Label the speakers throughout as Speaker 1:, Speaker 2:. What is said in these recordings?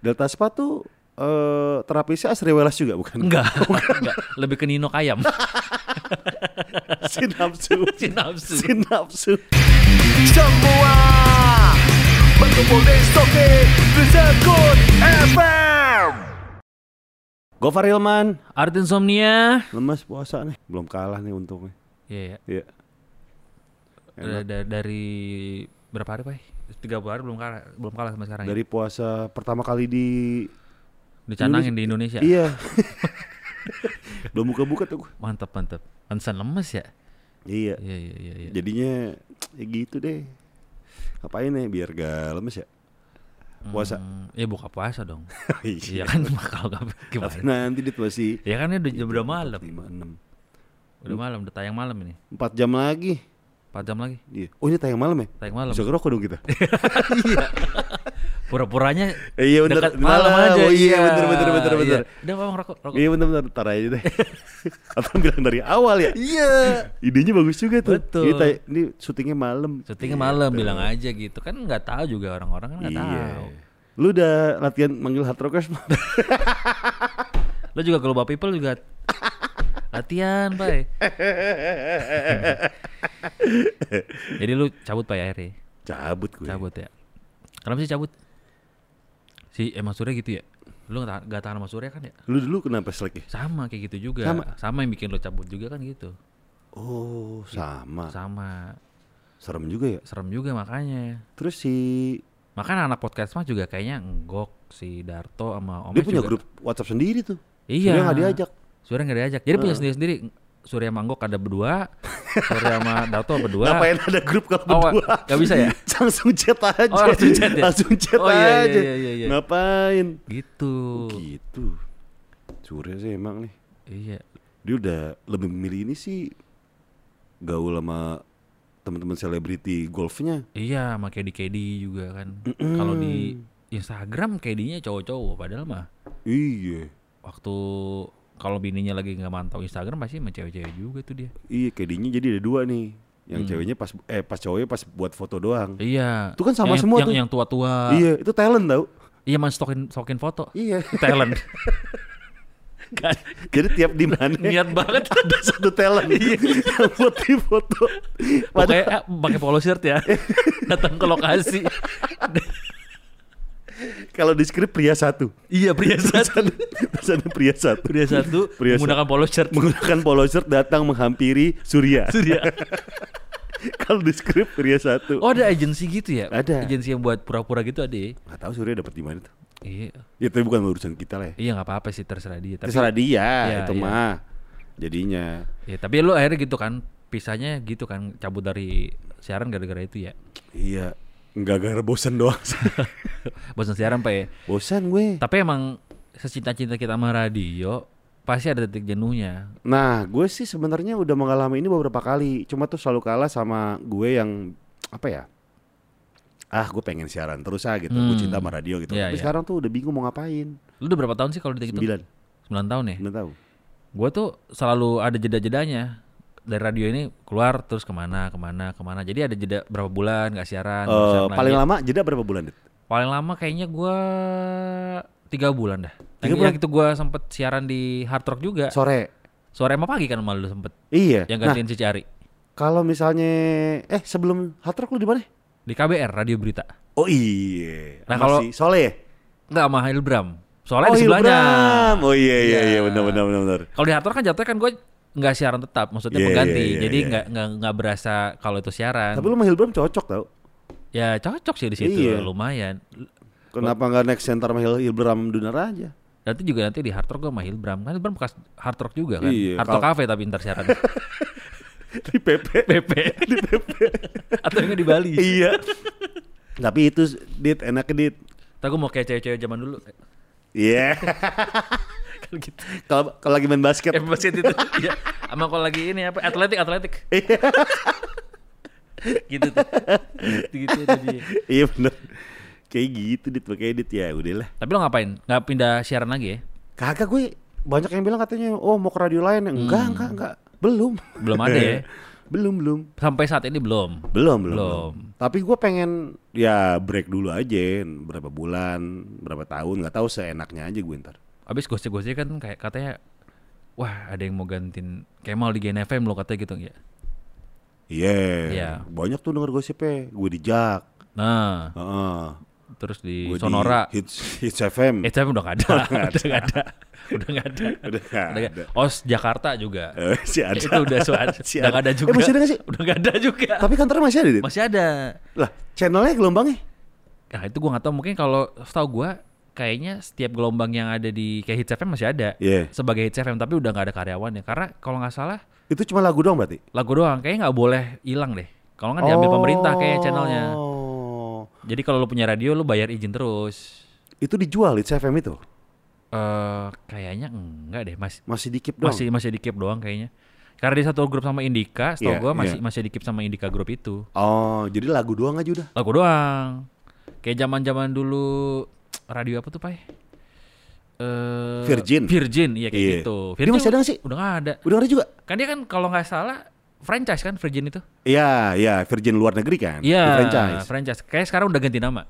Speaker 1: Delta Spa tuh eh, terapisnya Asri Welas juga bukan?
Speaker 2: Enggak, enggak. Lebih ke Nino Ayam.
Speaker 1: Sinapsu.
Speaker 2: Sinapsu.
Speaker 1: Sinapsu.
Speaker 3: Semua berkumpul di Sofi Rizakun FM.
Speaker 1: Gofar Hilman,
Speaker 2: Art Insomnia.
Speaker 1: lemas puasa nih. Belum kalah nih untungnya.
Speaker 2: Iya,
Speaker 1: Iya.
Speaker 2: iya. Da- da- dari berapa hari, Pak? 30 hari belum kalah, belum kalah sama sekarang. ya?
Speaker 1: Dari puasa pertama kali di
Speaker 2: Dicanangin di Indonesia.
Speaker 1: Iya. Belum buka-buka tuh gue.
Speaker 2: Mantap, mantap. Pantesan lemes ya?
Speaker 1: Iya.
Speaker 2: Iya, iya, iya, iya.
Speaker 1: Jadinya ya gitu deh. Ngapain nih biar gak lemes ya? Puasa.
Speaker 2: Hmm, ya buka puasa dong.
Speaker 1: Iya. Iya,
Speaker 2: Iya kan kalau nggak
Speaker 1: Tapi
Speaker 2: gimana?
Speaker 1: nanti dit masih
Speaker 2: Ya kan ini udah, udah malam,
Speaker 1: lima enam
Speaker 2: udah malam, udah tayang malam ini.
Speaker 1: empat jam lagi.
Speaker 2: 4 jam lagi
Speaker 1: Iya. Oh ini tayang malam ya?
Speaker 2: tayang malam.
Speaker 1: Bisa ngerokok dong kita.
Speaker 2: Pura-puranya
Speaker 1: Eh, iya bener.
Speaker 2: dekat malam,
Speaker 1: Malam.
Speaker 2: aja.
Speaker 1: Oh, iya, bener, bener, bener,
Speaker 2: iya.
Speaker 1: bener.
Speaker 2: Udah Bang rokok, rokok.
Speaker 1: Iya bener-bener ntar aja deh. Atau bilang dari awal ya? Iya. Idenya bagus juga tuh.
Speaker 2: Betul.
Speaker 1: Ini, tay- ini syutingnya malam.
Speaker 2: Syutingnya malam bilang aja gitu. Kan nggak tahu juga orang-orang kan nggak
Speaker 1: Iya.
Speaker 2: tahu.
Speaker 1: Lu udah latihan manggil hard rockers belum?
Speaker 2: Lo juga global people juga latihan, Pak. Jadi lu cabut Pak akhirnya.
Speaker 1: Cabut gue.
Speaker 2: Cabut ya. Kenapa sih cabut? Si Emang Surya gitu ya? Lu nggak tahan- nggak tahan sama Surya kan ya?
Speaker 1: Lu dulu kenapa seleknya?
Speaker 2: Sama kayak gitu juga.
Speaker 1: Sama.
Speaker 2: sama yang bikin lo cabut juga kan gitu.
Speaker 1: Oh sama.
Speaker 2: Sama.
Speaker 1: Serem juga ya.
Speaker 2: Serem juga makanya.
Speaker 1: Terus si
Speaker 2: Makanya anak podcast mah juga kayaknya enggok si Darto sama Om
Speaker 1: dia punya grup WhatsApp sendiri tuh.
Speaker 2: Iya.
Speaker 1: Surya nggak diajak.
Speaker 2: Surya nggak diajak. Jadi punya sendiri-sendiri. Surya sama Enggok ada berdua. Surya sama Darto berdua.
Speaker 1: Ngapain ada grup kalau
Speaker 2: Oh,
Speaker 1: berdua?
Speaker 2: nggak bisa ya?
Speaker 1: langsung chat aja.
Speaker 2: Oh, langsung chat ya?
Speaker 1: Langsung chat
Speaker 2: Oh, iya, iya,
Speaker 1: aja.
Speaker 2: iya, iya, iya.
Speaker 1: Ngapain?
Speaker 2: Gitu.
Speaker 1: Gitu. Surya sih emang nih.
Speaker 2: Iya.
Speaker 1: Dia udah lebih memilih ini sih gaul sama teman-teman selebriti golfnya.
Speaker 2: Iya sama KD-KD juga kan. Kalau di Instagram KD-nya cowok-cowok. Padahal mah
Speaker 1: Iya.
Speaker 2: waktu kalau bininya lagi nggak mantau Instagram pasti sama cewek-cewek juga tuh dia.
Speaker 1: Iya, kedinya jadi ada dua nih.
Speaker 2: Hmm.
Speaker 1: Yang ceweknya pas eh pas cowoknya pas buat foto doang.
Speaker 2: Iya.
Speaker 1: Itu kan sama
Speaker 2: yang,
Speaker 1: semua
Speaker 2: yang,
Speaker 1: tuh.
Speaker 2: Yang tua-tua.
Speaker 1: Iya, itu talent tau.
Speaker 2: Iya mas stokin stokin foto.
Speaker 1: Iya.
Speaker 2: Talent. Gak-
Speaker 1: Jadi tiap di mana
Speaker 2: Kan, Niat banget.
Speaker 1: ada satu talent
Speaker 2: Iya.
Speaker 1: yang buat di foto.
Speaker 2: Pakai eh, pakai polo shirt ya. Datang ke lokasi.
Speaker 1: Kalau di skrip pria satu,
Speaker 2: iya pria satu.
Speaker 1: terus ada pria satu.
Speaker 2: Pria satu
Speaker 1: Pria satu.
Speaker 2: menggunakan polo shirt.
Speaker 1: Menggunakan polo shirt datang menghampiri Surya.
Speaker 2: Surya.
Speaker 1: Kalau di skrip pria satu.
Speaker 2: Oh ada agensi gitu ya?
Speaker 1: Ada.
Speaker 2: Agensi yang buat pura-pura gitu ada ya?
Speaker 1: Nggak tahu Surya dapat di mana tuh.
Speaker 2: Iya.
Speaker 1: Itu bukan urusan kita lah ya.
Speaker 2: Iya nggak apa-apa sih terserah dia. Tapi,
Speaker 1: Terserah dia
Speaker 2: Iya,
Speaker 1: itu
Speaker 2: iya.
Speaker 1: mah. Jadinya
Speaker 2: Ya, tapi lo akhirnya gitu kan pisahnya gitu kan cabut dari siaran gara-gara itu ya.
Speaker 1: iya nggak gara bosan doang.
Speaker 2: Bosan siaran pak ya.
Speaker 1: bosan gue.
Speaker 2: Tapi emang secinta-cinta kita sama radio pasti ada titik jenuhnya.
Speaker 1: Nah, gue sih sebenarnya udah mengalami ini beberapa kali. Cuma tuh selalu kalah sama gue yang apa ya? Ah, gue pengen siaran terus ah gitu. Gue
Speaker 2: Hmm.
Speaker 1: cinta sama radio gitu. Tapi
Speaker 2: Iya, iya. Gitu.
Speaker 1: sekarang tuh udah bingung mau ngapain.
Speaker 2: Lu udah berapa tahun sih kalau detik itu?
Speaker 1: Sembilan,
Speaker 2: 9 tahun ya?
Speaker 1: sembilan tahu.
Speaker 2: Gue tuh selalu ada jeda-jedanya Dari radio ini keluar terus kemana, kemana, kemana Jadi ada jeda berapa bulan gak siaran baru siaran lagi.
Speaker 1: Eh,
Speaker 2: Eh.
Speaker 1: paling lama jeda berapa bulan? Dit?
Speaker 2: Paling lama kayaknya gue tiga bulan dah
Speaker 1: Tiga
Speaker 2: Tiga
Speaker 1: bulan?
Speaker 2: bulan itu gue sempet siaran di Hard Rock juga
Speaker 1: Sore.
Speaker 2: Sore sama pagi kan malu sempet
Speaker 1: Iya.
Speaker 2: Yang
Speaker 1: nah,
Speaker 2: gantiin si Cari
Speaker 1: kalau misalnya eh sebelum hard rock lu di mana?
Speaker 2: Di KBR, Radio Berita
Speaker 1: Oh iya.
Speaker 2: Nah,
Speaker 1: Sama
Speaker 2: kalau-
Speaker 1: si Soleh ya?
Speaker 2: Enggak sama Hilbram Soalnya di
Speaker 1: Oh, Hilbram.
Speaker 2: sebelahnya
Speaker 1: Oh iya iya iya
Speaker 2: Iya.
Speaker 1: benar benar benar. benar.
Speaker 2: Kalau di Hard Rock kan jatuhnya kan gue nggak siaran tetap Maksudnya
Speaker 1: Iya,
Speaker 2: pengganti
Speaker 1: iya, iya,
Speaker 2: Jadi
Speaker 1: iya.
Speaker 2: nggak nggak nggak berasa kalau itu siaran
Speaker 1: Tapi lu sama Hilbram cocok tau.
Speaker 2: Ya cocok sih di situ
Speaker 1: Iya.
Speaker 2: lumayan
Speaker 1: Kenapa nggak next center sama Hil- Hilbram Dunar aja?
Speaker 2: Nanti juga nanti di Hard Rock gue sama Hilbram Kan Hilbram bekas Hard Rock juga kan
Speaker 1: Iya,
Speaker 2: Hard Rock
Speaker 1: kalau-
Speaker 2: Cafe tapi ntar siaran
Speaker 1: Di PP.
Speaker 2: PP Atau yang di Bali
Speaker 1: iya. Tapi itu dit enak dit.
Speaker 2: Ntar gue mau kayak cewek-cewek zaman dulu
Speaker 1: Iya.
Speaker 2: Kalau gitu
Speaker 1: Kalau kalau lagi main basket.
Speaker 2: Eh basket itu Iya Sama kalau lagi ini apa Atletik Atletik
Speaker 1: Iya.
Speaker 2: Gitu tuh Gitu tadi
Speaker 1: iya bener. Kayak gitu dit pakai dit ya udahlah.
Speaker 2: Tapi lo ngapain? Nggak pindah siaran lagi ya?
Speaker 1: Kagak gue banyak yang bilang katanya oh mau ke radio lain enggak enggak enggak belum
Speaker 2: Hmm. Belum ada ya?
Speaker 1: Belum belum.
Speaker 2: Sampai saat ini belum.
Speaker 1: Belum belum.
Speaker 2: Belum.
Speaker 1: Tapi gue pengen ya break dulu aja berapa bulan, berapa tahun nggak tahu seenaknya aja gue ntar.
Speaker 2: Abis gosip-gosip kan kayak katanya wah ada yang mau gantiin Kemal di GNFM lo katanya gitu ya.
Speaker 1: Iya.
Speaker 2: Iya.
Speaker 1: Banyak tuh denger gosipnya. Gue di Jak.
Speaker 2: Nah,
Speaker 1: Heeh.
Speaker 2: terus di
Speaker 1: Gua di
Speaker 2: Sonora.
Speaker 1: hits, hits FM.
Speaker 2: Eh tapi udah gak ada, udah gak ada, udah gak ada.
Speaker 1: Udah nggak
Speaker 2: Udah nggak
Speaker 1: ada.
Speaker 2: ada. Os Jakarta juga.
Speaker 1: Eh, masih ada.
Speaker 2: Itu udah suara,
Speaker 1: Masih
Speaker 2: udah gak ada juga.
Speaker 1: Eh, masih ada nggak sih?
Speaker 2: Udah gak ada juga.
Speaker 1: Tapi kantornya masih ada, Dit?
Speaker 2: Masih ada.
Speaker 1: Lah, channelnya gelombangnya?
Speaker 2: Nah itu gua gak tahu mungkin kalau setahu gua kayaknya setiap gelombang yang ada di kayak Hits FM masih ada
Speaker 1: Iya.
Speaker 2: sebagai Hits FM tapi udah gak ada karyawannya karena kalau nggak salah
Speaker 1: Itu cuma lagu doang berarti?
Speaker 2: lagu doang kayaknya nggak boleh hilang deh. Kalau nggak diambil pemerintah kayak channelnya.
Speaker 1: Oh.
Speaker 2: Jadi kalau lu punya radio lu bayar izin terus.
Speaker 1: Itu dijual Hits FM itu?
Speaker 2: Eh kayaknya enggak deh masih
Speaker 1: Masih dikip doang?
Speaker 2: masih masih di keep doang kayaknya karena di satu grup sama Indika setahu
Speaker 1: Iya,
Speaker 2: gua masih
Speaker 1: iya.
Speaker 2: masih di keep sama Indika grup itu
Speaker 1: Oh, jadi lagu doang aja udah?
Speaker 2: lagu doang kayak zaman zaman dulu radio apa tuh pai Eh,
Speaker 1: Virgin.
Speaker 2: Virgin iya kayak
Speaker 1: Iya.
Speaker 2: gitu
Speaker 1: Dia masih ada nggak sih?
Speaker 2: udah nggak ada
Speaker 1: Udah ada juga?
Speaker 2: kan dia kan kalau nggak salah franchise kan Virgin itu
Speaker 1: Iya, iya. Virgin luar negeri kan?
Speaker 2: iya
Speaker 1: Di franchise.
Speaker 2: kayak sekarang udah ganti nama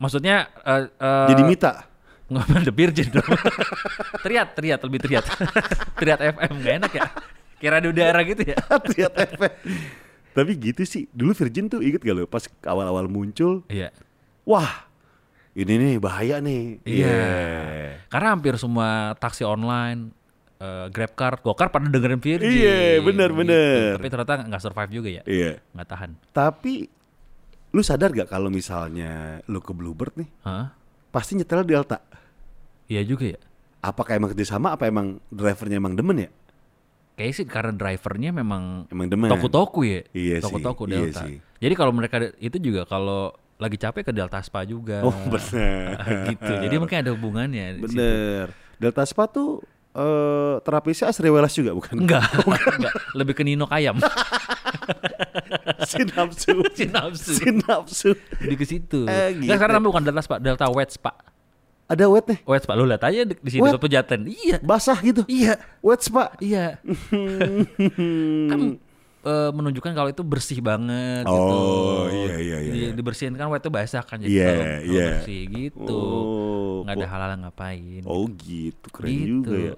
Speaker 2: maksudnya eh, eh,
Speaker 1: Jadi Mita.
Speaker 2: nggak ada Virgin dong. teriak teriak lebih teriak teriak FM gak enak ya kayak radio daerah gitu ya
Speaker 1: Triat FM. Tapi gitu sih. Dulu Virgin tuh inget gak lo? Pas awal-awal muncul,
Speaker 2: iya
Speaker 1: wah ini nih bahaya nih.
Speaker 2: Iya. Karena hampir semua taksi online, eh, GrabCar, GoCar pada dengerin Virgin. Gitu.
Speaker 1: Iya, bener, bener.
Speaker 2: Tapi ternyata nggak survive juga ya,
Speaker 1: Iya.
Speaker 2: nggak tahan.
Speaker 1: Tapi lu sadar gak kalau misalnya lu ke Bluebird nih,
Speaker 2: Hah?
Speaker 1: pasti nyetel di Alta.
Speaker 2: Iya juga ya.
Speaker 1: Apakah emang kerjasama? Apa emang drivernya emang
Speaker 2: Iya,
Speaker 1: demen ya?
Speaker 2: Kayaknya sih karena drivernya memang
Speaker 1: Emang demen.
Speaker 2: toku-toku ya,
Speaker 1: Iya sih,
Speaker 2: toku-toku
Speaker 1: iya
Speaker 2: Delta.
Speaker 1: sih.
Speaker 2: Jadi kalau mereka de- itu juga kalau lagi capek ke Delta Spa juga.
Speaker 1: Oh bener.
Speaker 2: gitu. Jadi mungkin ada hubungannya. di situ.
Speaker 1: bener. Delta Spa tuh eh, terapisnya Asri Welas juga bukan?
Speaker 2: Enggak, enggak. Lebih ke Nino Kayam.
Speaker 1: Sinapsu.
Speaker 2: Si nafsu.
Speaker 1: Sinapsu.
Speaker 2: Lebih ke situ.
Speaker 1: Eh, gitu.
Speaker 2: Enggak, sekarang namanya bukan Delta Spa, Delta Wets Pak.
Speaker 1: Ada wet nih.
Speaker 2: Wets Pak, lu lihat aja di, di sini
Speaker 1: Wet?
Speaker 2: Soto Pejaten. Iya.
Speaker 1: Basah gitu.
Speaker 2: Iya,
Speaker 1: Wet Spa.
Speaker 2: iya. kan eh, menunjukkan kalau itu bersih banget gitu.
Speaker 1: Oh, iya, iya, iya,
Speaker 2: Di-
Speaker 1: iya.
Speaker 2: dibersihin kan wet itu basah kan jadi
Speaker 1: Iya,
Speaker 2: kalau- kalau
Speaker 1: iya.
Speaker 2: bersih gitu.
Speaker 1: Oh,
Speaker 2: nggak ada
Speaker 1: oh.
Speaker 2: halal ngapain.
Speaker 1: Oh gitu, keren
Speaker 2: Gitu.
Speaker 1: juga ya.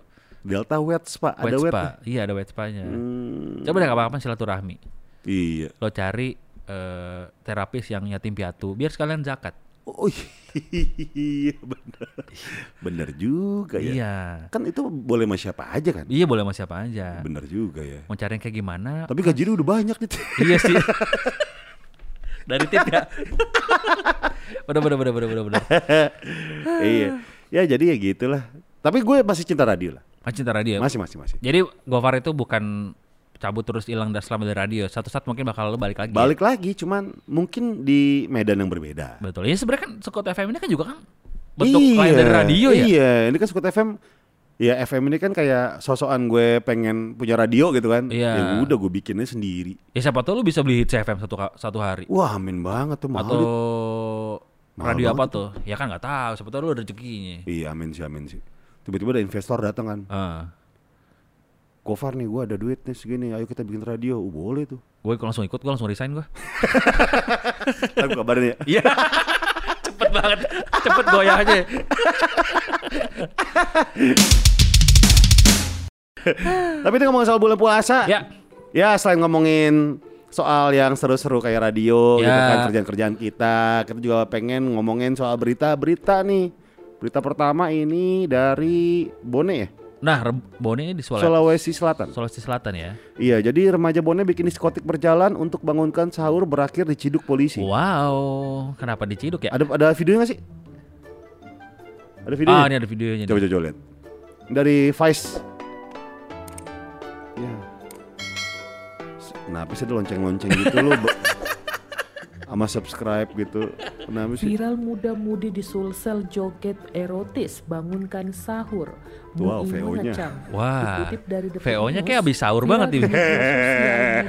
Speaker 1: Delta wet spa, ada
Speaker 2: wet
Speaker 1: wet.
Speaker 2: spa.
Speaker 1: nih.
Speaker 2: Iya, ada wet spa-nya.
Speaker 1: Hmm,
Speaker 2: Coba deh kapan-kapan silaturahmi.
Speaker 1: iya.
Speaker 2: Lo cari eh, terapis yang yatim piatu biar sekalian zakat.
Speaker 1: Oh iya bener. Bener juga ya.
Speaker 2: Iya.
Speaker 1: Kan itu boleh sama siapa aja kan?
Speaker 2: Iya boleh sama siapa aja.
Speaker 1: Bener juga ya.
Speaker 2: Mau cari yang kayak gimana?
Speaker 1: Tapi gajinya udah banyak gitu. nih.
Speaker 2: iya sih. Dari tip ya. bener bener bener bener bener bener.
Speaker 1: iya. Ya jadi ya gitulah. Tapi gue masih cinta radio lah.
Speaker 2: Masih cinta radio.
Speaker 1: Masih masih masih.
Speaker 2: Jadi Gofar itu bukan cabut terus hilang dan selama dari radio. Satu saat mungkin bakal lo balik lagi.
Speaker 1: Balik lagi cuman mungkin di medan yang berbeda.
Speaker 2: Betul. Ya sebenarnya kan Scott FM ini kan juga kan bentuk
Speaker 1: Iya,
Speaker 2: lain dari radio ya.
Speaker 1: Iya, ini kan Scoot FM Ya FM ini kan kayak sosokan gue pengen punya radio gitu kan
Speaker 2: Iya.
Speaker 1: Ya udah gue bikinnya sendiri
Speaker 2: Ya siapa tahu lo bisa beli hits FM satu ka- satu hari
Speaker 1: Wah amin banget tuh mahal
Speaker 2: atau
Speaker 1: Dit. Mahal
Speaker 2: radio
Speaker 1: banget
Speaker 2: apa tuh? Ya kan nggak tahu. Siapa tahu lo ada rezekinya.
Speaker 1: Iya amin sih amin sih Tiba-tiba ada investor datang kan
Speaker 2: Ah,
Speaker 1: Gofar nih gue ada duit nih segini Ayo kita bikin radio Oh, Boleh tuh
Speaker 2: gue langsung ikut, gue langsung resign gue.
Speaker 1: Aku kabarin ya
Speaker 2: Iya. Cepet banget. Cepet goyah aja.
Speaker 1: Tapi ini ngomongin soal bulan puasa
Speaker 2: Ya.
Speaker 1: Ya selain ngomongin soal yang seru-seru kayak radio gitu
Speaker 2: Ya.
Speaker 1: kan kerjaan-kerjaan kita kita juga pengen ngomongin soal berita-berita nih berita pertama ini dari Bone ya
Speaker 2: Nah, Reb- Bone ini di Sulawesi,
Speaker 1: Sulawesi Selatan
Speaker 2: Sulawesi Selatan ya.
Speaker 1: iya jadi remaja Bone bikin diskotik berjalan untuk bangunkan sahur berakhir diciduk polisi
Speaker 2: Wow, kenapa diciduk ya?
Speaker 1: ada ada videonya nggak sih ada videonya
Speaker 2: Ah, ini ada videonya. nih.
Speaker 1: coba-coba lihat dari Vice ya kenapa sih ada lonceng-lonceng gitu lo Be- sama subscribe gitu kenapa sih
Speaker 4: Viral muda-mudi di Sulsel joget erotis bangunkan sahur. Bu
Speaker 1: Wow,
Speaker 4: Ibu
Speaker 1: VO-nya.
Speaker 4: ngecang.
Speaker 2: Wah,
Speaker 4: Dikutip dari Detik
Speaker 2: VO-nya
Speaker 4: News,
Speaker 2: kayak abis sahur
Speaker 4: viral
Speaker 2: banget
Speaker 4: di
Speaker 2: ini.
Speaker 4: media sosial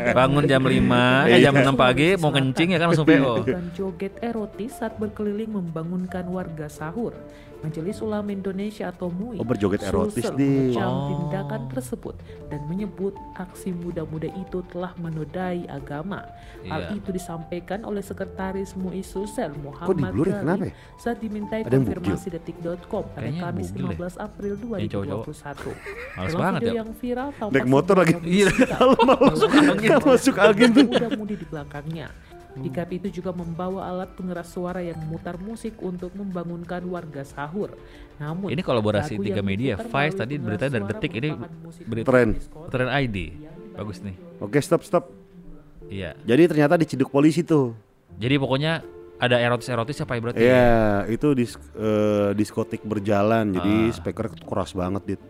Speaker 4: dan
Speaker 2: Bangun jam 5, eh,
Speaker 4: media
Speaker 1: Iya.
Speaker 4: sosial
Speaker 2: jam 6
Speaker 4: Sulawesi
Speaker 2: pagi, mau ya
Speaker 4: Selatan.
Speaker 2: kencing ya kan langsung VO.
Speaker 4: Melakukan joget erotis saat berkeliling membangunkan warga sahur. Majelis Ulama Indonesia atau MUI
Speaker 1: Oh, berjoget erotis
Speaker 4: Sulsel
Speaker 1: nih.
Speaker 4: mengecam
Speaker 2: Oh.
Speaker 4: tindakan tersebut dan menyebut aksi muda-muda itu telah menodai agama. Hal
Speaker 2: Iya.
Speaker 4: itu disampaikan oleh Sekretaris MUI Sulsel Muhammad
Speaker 1: diblurin?
Speaker 4: Gali
Speaker 1: Kenapa ya?
Speaker 4: saat dimintai
Speaker 1: Ada yang
Speaker 4: konfirmasi detik.com pada
Speaker 2: Kayaknya
Speaker 4: Kamis
Speaker 2: bugil deh.
Speaker 4: 15 April
Speaker 2: Yang cowok-cowok.
Speaker 4: 2021.
Speaker 2: Males
Speaker 4: Dalam
Speaker 2: banget
Speaker 4: video
Speaker 2: ya.
Speaker 4: yang viral tampak
Speaker 1: Naik motor lagi.
Speaker 4: seorang
Speaker 2: Iya. Masuk
Speaker 4: wanita
Speaker 2: angin. Hmm.
Speaker 4: Mobil
Speaker 1: Masuk angin tuh.
Speaker 4: Muda-mudi di belakangnya. DKP itu juga membawa alat pengeras suara yang memutar musik untuk membangunkan warga sahur. Namun
Speaker 2: Ini kolaborasi
Speaker 4: lagu
Speaker 2: tiga
Speaker 4: yang
Speaker 2: media.
Speaker 4: diputar
Speaker 2: Vice tadi
Speaker 4: melalui pengeras
Speaker 2: beritanya dari
Speaker 4: suara
Speaker 2: Detik, ini
Speaker 4: merupakan musik
Speaker 2: berita-
Speaker 1: Tren.
Speaker 4: diskot
Speaker 2: Tren ID. Bagus nih.
Speaker 1: Oke, stop stop.
Speaker 2: Iya.
Speaker 1: Jadi ternyata diciduk polisi tuh.
Speaker 2: Jadi pokoknya ada erotis-erotis apa ya berarti?
Speaker 1: Iya, itu dis- eh, diskotik berjalan. Jadi
Speaker 2: Ah.
Speaker 1: speaker keras banget, Dit.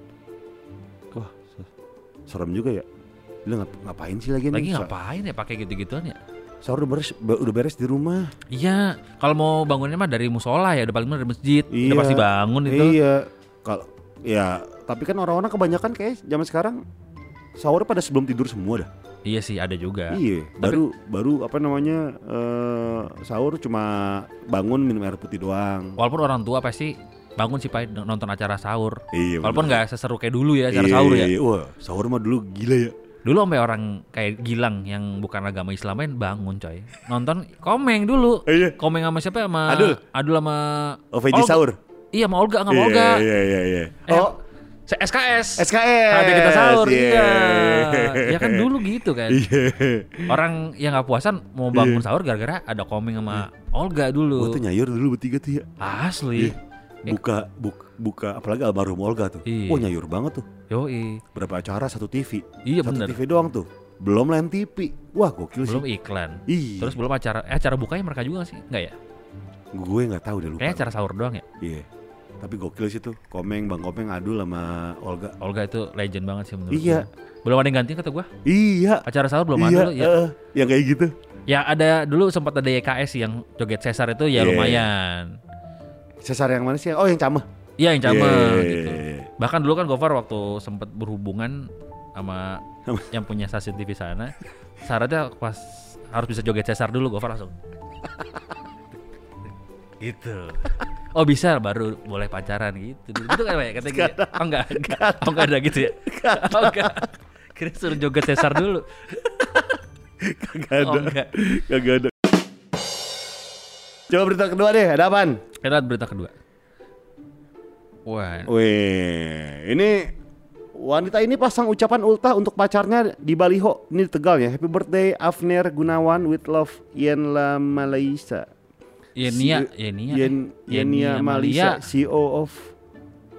Speaker 1: Wah, se- serem juga ya. Lu ngap- ngapain sih lagi,
Speaker 2: Lagi
Speaker 1: nih? Sa-
Speaker 2: ngapain ya pakai gitu-gituan ya?
Speaker 1: Sahur udah beres, ba- udah beres di rumah.
Speaker 2: Iya, kalau mau bangunnya mah dari musola ya, udah paling bener dari masjid,
Speaker 1: Iya.
Speaker 2: udah pasti bangun itu.
Speaker 1: Iya. Kalau ya, tapi kan orang-orang kebanyakan kayak zaman sekarang sahur pada sebelum tidur semua dah.
Speaker 2: Iya sih, ada juga.
Speaker 1: Iya, baru baru apa namanya eh, sahur cuma bangun minum air putih doang.
Speaker 2: Walaupun orang tua pasti bangun sih Pak nonton acara sahur.
Speaker 1: Iya.
Speaker 2: Walaupun
Speaker 1: bener.
Speaker 2: nggak seseru kayak dulu ya acara
Speaker 1: Iya,
Speaker 2: sahur ya.
Speaker 1: iya, Wah, sahur mah dulu gila ya.
Speaker 2: Dulu sampai orang kayak Gilang yang bukan agama Islam main bangun coy. Nonton komeng dulu.
Speaker 1: Iya.
Speaker 2: Komeng sama siapa? Sama
Speaker 1: Adul.
Speaker 2: Adul sama
Speaker 1: Oh, veggie
Speaker 2: Olga.
Speaker 1: sahur.
Speaker 2: Iya, sama Olga, sama Olga.
Speaker 1: Iya, iya, iya.
Speaker 2: Eh,
Speaker 1: Oh,
Speaker 2: se- SKS.
Speaker 1: SKS.
Speaker 2: Ada kita sahur.
Speaker 1: Iya.
Speaker 2: Iya. Ya kan dulu gitu kan.
Speaker 1: Iya.
Speaker 2: Orang yang nggak puasan mau bangun sahur gara-gara ada komeng sama
Speaker 1: Iya.
Speaker 2: Olga
Speaker 1: Gua
Speaker 2: dulu.
Speaker 1: tuh Oh, nyayur dulu bertiga tuh ya.
Speaker 2: Asli. Eh.
Speaker 1: Buka buk- buka apalagi almarhum Olga tuh.
Speaker 2: Iya.
Speaker 1: Wah, nyayur banget tuh.
Speaker 2: Yoi.
Speaker 1: Berapa acara satu TV.
Speaker 2: Iya
Speaker 1: satu
Speaker 2: bener.
Speaker 1: TV doang tuh. Belum lain TV. Wah, gokil
Speaker 2: Belum
Speaker 1: sih.
Speaker 2: iklan.
Speaker 1: Iya.
Speaker 2: Terus belum acara eh, acara bukanya mereka juga nggak sih? Enggak ya?
Speaker 1: gue nggak tahu deh lupa.
Speaker 2: Kayaknya acara sahur doang ya.
Speaker 1: Iya. Tapi gokil sih tuh. Komeng, Bang Komeng Adul sama Olga.
Speaker 2: Olga itu legend banget sih menurut
Speaker 1: Iya.
Speaker 2: gua. Belum ada yang ganti kata gua.
Speaker 1: Iya.
Speaker 2: Acara sahur belum ada
Speaker 1: iya,
Speaker 2: dulu ya.
Speaker 1: eh, yang kayak gitu.
Speaker 2: Ya ada dulu sempat ada YKS sih yang joget Cesar itu ya
Speaker 1: Iya.
Speaker 2: lumayan.
Speaker 1: Cesar yang mana sih? Oh, yang Camah.
Speaker 2: Iya yang
Speaker 1: Iya,
Speaker 2: sama
Speaker 1: iya,
Speaker 2: gitu.
Speaker 1: iya, iya.
Speaker 2: Bahkan dulu kan Gofar waktu sempat berhubungan sama yang punya stasiun TV sana, syaratnya pas harus bisa joget Cesar dulu Gofar langsung. gitu. Oh bisa baru boleh pacaran gitu. Gitu kan ya kata gitu. ya? Oh enggak, enggak. Oh enggak ada gitu ya. Oh enggak. Kira suruh joget Cesar dulu.
Speaker 1: Kagak
Speaker 2: Oh,
Speaker 1: ada.
Speaker 2: enggak.
Speaker 1: Kagak ada. Coba berita kedua deh, ada apaan?
Speaker 2: Kita lihat berita kedua.
Speaker 1: Oh,
Speaker 2: Wah,
Speaker 1: Wih, ini wanita ini pasang ucapan ultah untuk pacarnya di Baliho. Ini di Tegal ya. Happy birthday Afner Gunawan with love Yen La Malaysia.
Speaker 2: Yenia,
Speaker 1: CEO
Speaker 2: Yenia,
Speaker 1: Yen,
Speaker 2: eh.
Speaker 1: Yenia Malaysia,
Speaker 2: Malia.
Speaker 1: CEO of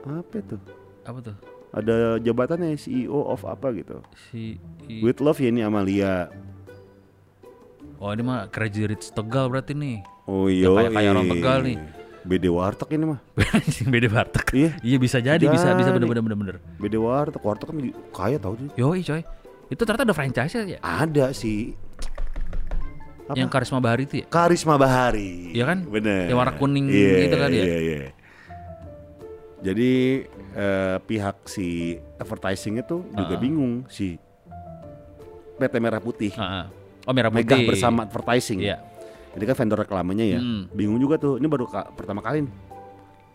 Speaker 1: apa tuh?
Speaker 2: Apa tuh?
Speaker 1: Ada jabatannya CEO of apa gitu.
Speaker 2: Si i-
Speaker 1: With love Yeni Amalia.
Speaker 2: Oh, ini mah Crazy Rich Tegal berarti nih.
Speaker 1: Oh iya.
Speaker 2: Ya, kayak-kayak orang Tegal nih.
Speaker 1: BD Warteg ini mah.
Speaker 2: Anjing beda Bartek.
Speaker 1: Iya.
Speaker 2: Iya bisa jadi, bisa bisa
Speaker 1: Jadi.
Speaker 2: bener-bener bener.
Speaker 1: BD Warteg, Warteg kan kaya tau sih.
Speaker 2: Yoi coy. Itu ternyata ada franchise ya.
Speaker 1: Ada sih. Apa?
Speaker 2: Yang Karisma Bahari itu ya.
Speaker 1: Karisma Bahari.
Speaker 2: Iya kan?
Speaker 1: Bener.
Speaker 2: Yang warna kuning
Speaker 1: Iya,
Speaker 2: gitu kan ya?
Speaker 1: Iya, iya. Jadi eh, pihak si advertising itu juga
Speaker 2: Ah.
Speaker 1: bingung si PT Merah Putih.
Speaker 2: Heeh. Oh, merah putih.
Speaker 1: Mega bersama advertising.
Speaker 2: Iya.
Speaker 1: Jadi kan vendor reklamanya ya.
Speaker 2: Hmm.
Speaker 1: Bingung juga tuh. Ini baru ka- pertama kali nih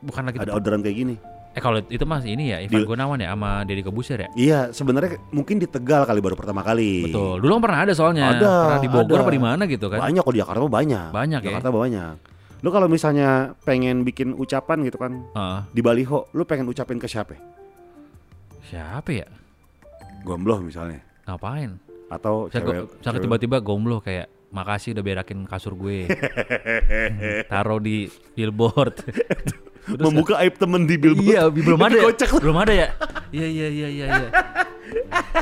Speaker 2: Bukan lagi
Speaker 1: ada
Speaker 2: tempat-
Speaker 1: orderan kayak gini.
Speaker 2: Eh kalau itu mah ini ya Ivan
Speaker 1: Deal.
Speaker 2: Gunawan ya sama Deddy Kebusir ya.
Speaker 1: Iya, sebenarnya mungkin di Tegal kali baru pertama kali.
Speaker 2: Betul. Dulu kan pernah ada soalnya.
Speaker 1: Iya. Ada,
Speaker 2: pernah di Bogor
Speaker 1: ada.
Speaker 2: apa di mana gitu kan.
Speaker 1: Banyak kok di Jakarta mah banyak.
Speaker 2: Banyak ya.
Speaker 1: Jakarta mah banyak. Lu kalau misalnya pengen bikin ucapan gitu kan
Speaker 2: Heeh.
Speaker 1: di baliho, lu pengen ucapin ke siapa?
Speaker 2: Siapa ya?
Speaker 1: Gombloh misalnya
Speaker 2: Ngapain?
Speaker 1: atau
Speaker 2: Saya
Speaker 1: cewek,
Speaker 2: misalnya
Speaker 1: cewek-
Speaker 2: tiba-tiba gombloh kayak makasih udah berakin kasur gue. Taruh di billboard. Terus
Speaker 1: membuka aib temen di billboard.
Speaker 2: Iya, bi- belum ada.
Speaker 1: Itu
Speaker 2: Ya?
Speaker 1: Kocak lah.
Speaker 2: Belum ada ya? Iya, iya, iya, iya, iya.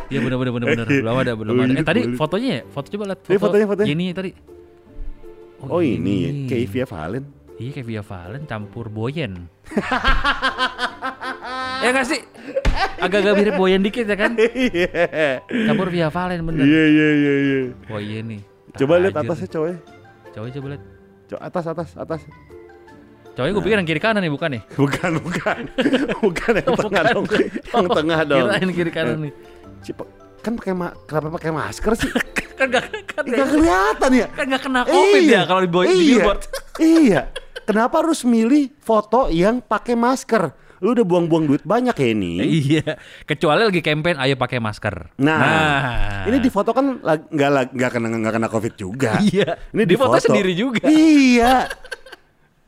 Speaker 2: Iya benar benar benar benar. Belum ada, belum
Speaker 1: Oh,
Speaker 2: ada. Eh
Speaker 1: hidup,
Speaker 2: tadi
Speaker 1: hidup.
Speaker 2: fotonya ya? Foto coba lihat
Speaker 1: Ini Iya, fotonya, fotonya.
Speaker 2: Ini tadi.
Speaker 1: Oh ini ya, kayak Via Valen.
Speaker 2: Iya kayak Via Valen campur Boyen. ya nggak sih? Agak-agak mirip Boyen dikit ya kan? Campur Via Valen bener.
Speaker 1: Iya iya iya iya.
Speaker 2: Oh iya nih.
Speaker 1: Coba lihat
Speaker 2: Tajir
Speaker 1: atasnya
Speaker 2: nih.
Speaker 1: cowoknya.
Speaker 2: Coba coba lihat.
Speaker 1: Cowok atas atas atas.
Speaker 2: Cowoknya gue pikir yang kiri kanan nih bukan nih.
Speaker 1: Bukan bukan. bukan yang tengah
Speaker 2: Bukan.
Speaker 1: dong. yang tengah dong.
Speaker 2: Kirain kiri kanan nih.
Speaker 1: Cipek. Kan pakai ma- kenapa pakai masker sih?
Speaker 2: Kan gak kan
Speaker 1: Enggak kelihatan ya?
Speaker 2: kan nggak kena covid ya kalau di, boy, di
Speaker 1: iya,
Speaker 2: billboard.
Speaker 1: Iya. kenapa harus milih foto yang pakai masker? Lu udah buang-buang duit banyak ya ini.
Speaker 2: Iya, kecuali lagi campaign ayo pakai masker.
Speaker 1: Nah, ini di foto kan lag- nggak lag- nggak kena nggak kena covid juga.
Speaker 2: Iya.
Speaker 1: ini di
Speaker 2: Difoto sendiri juga.
Speaker 1: Iya.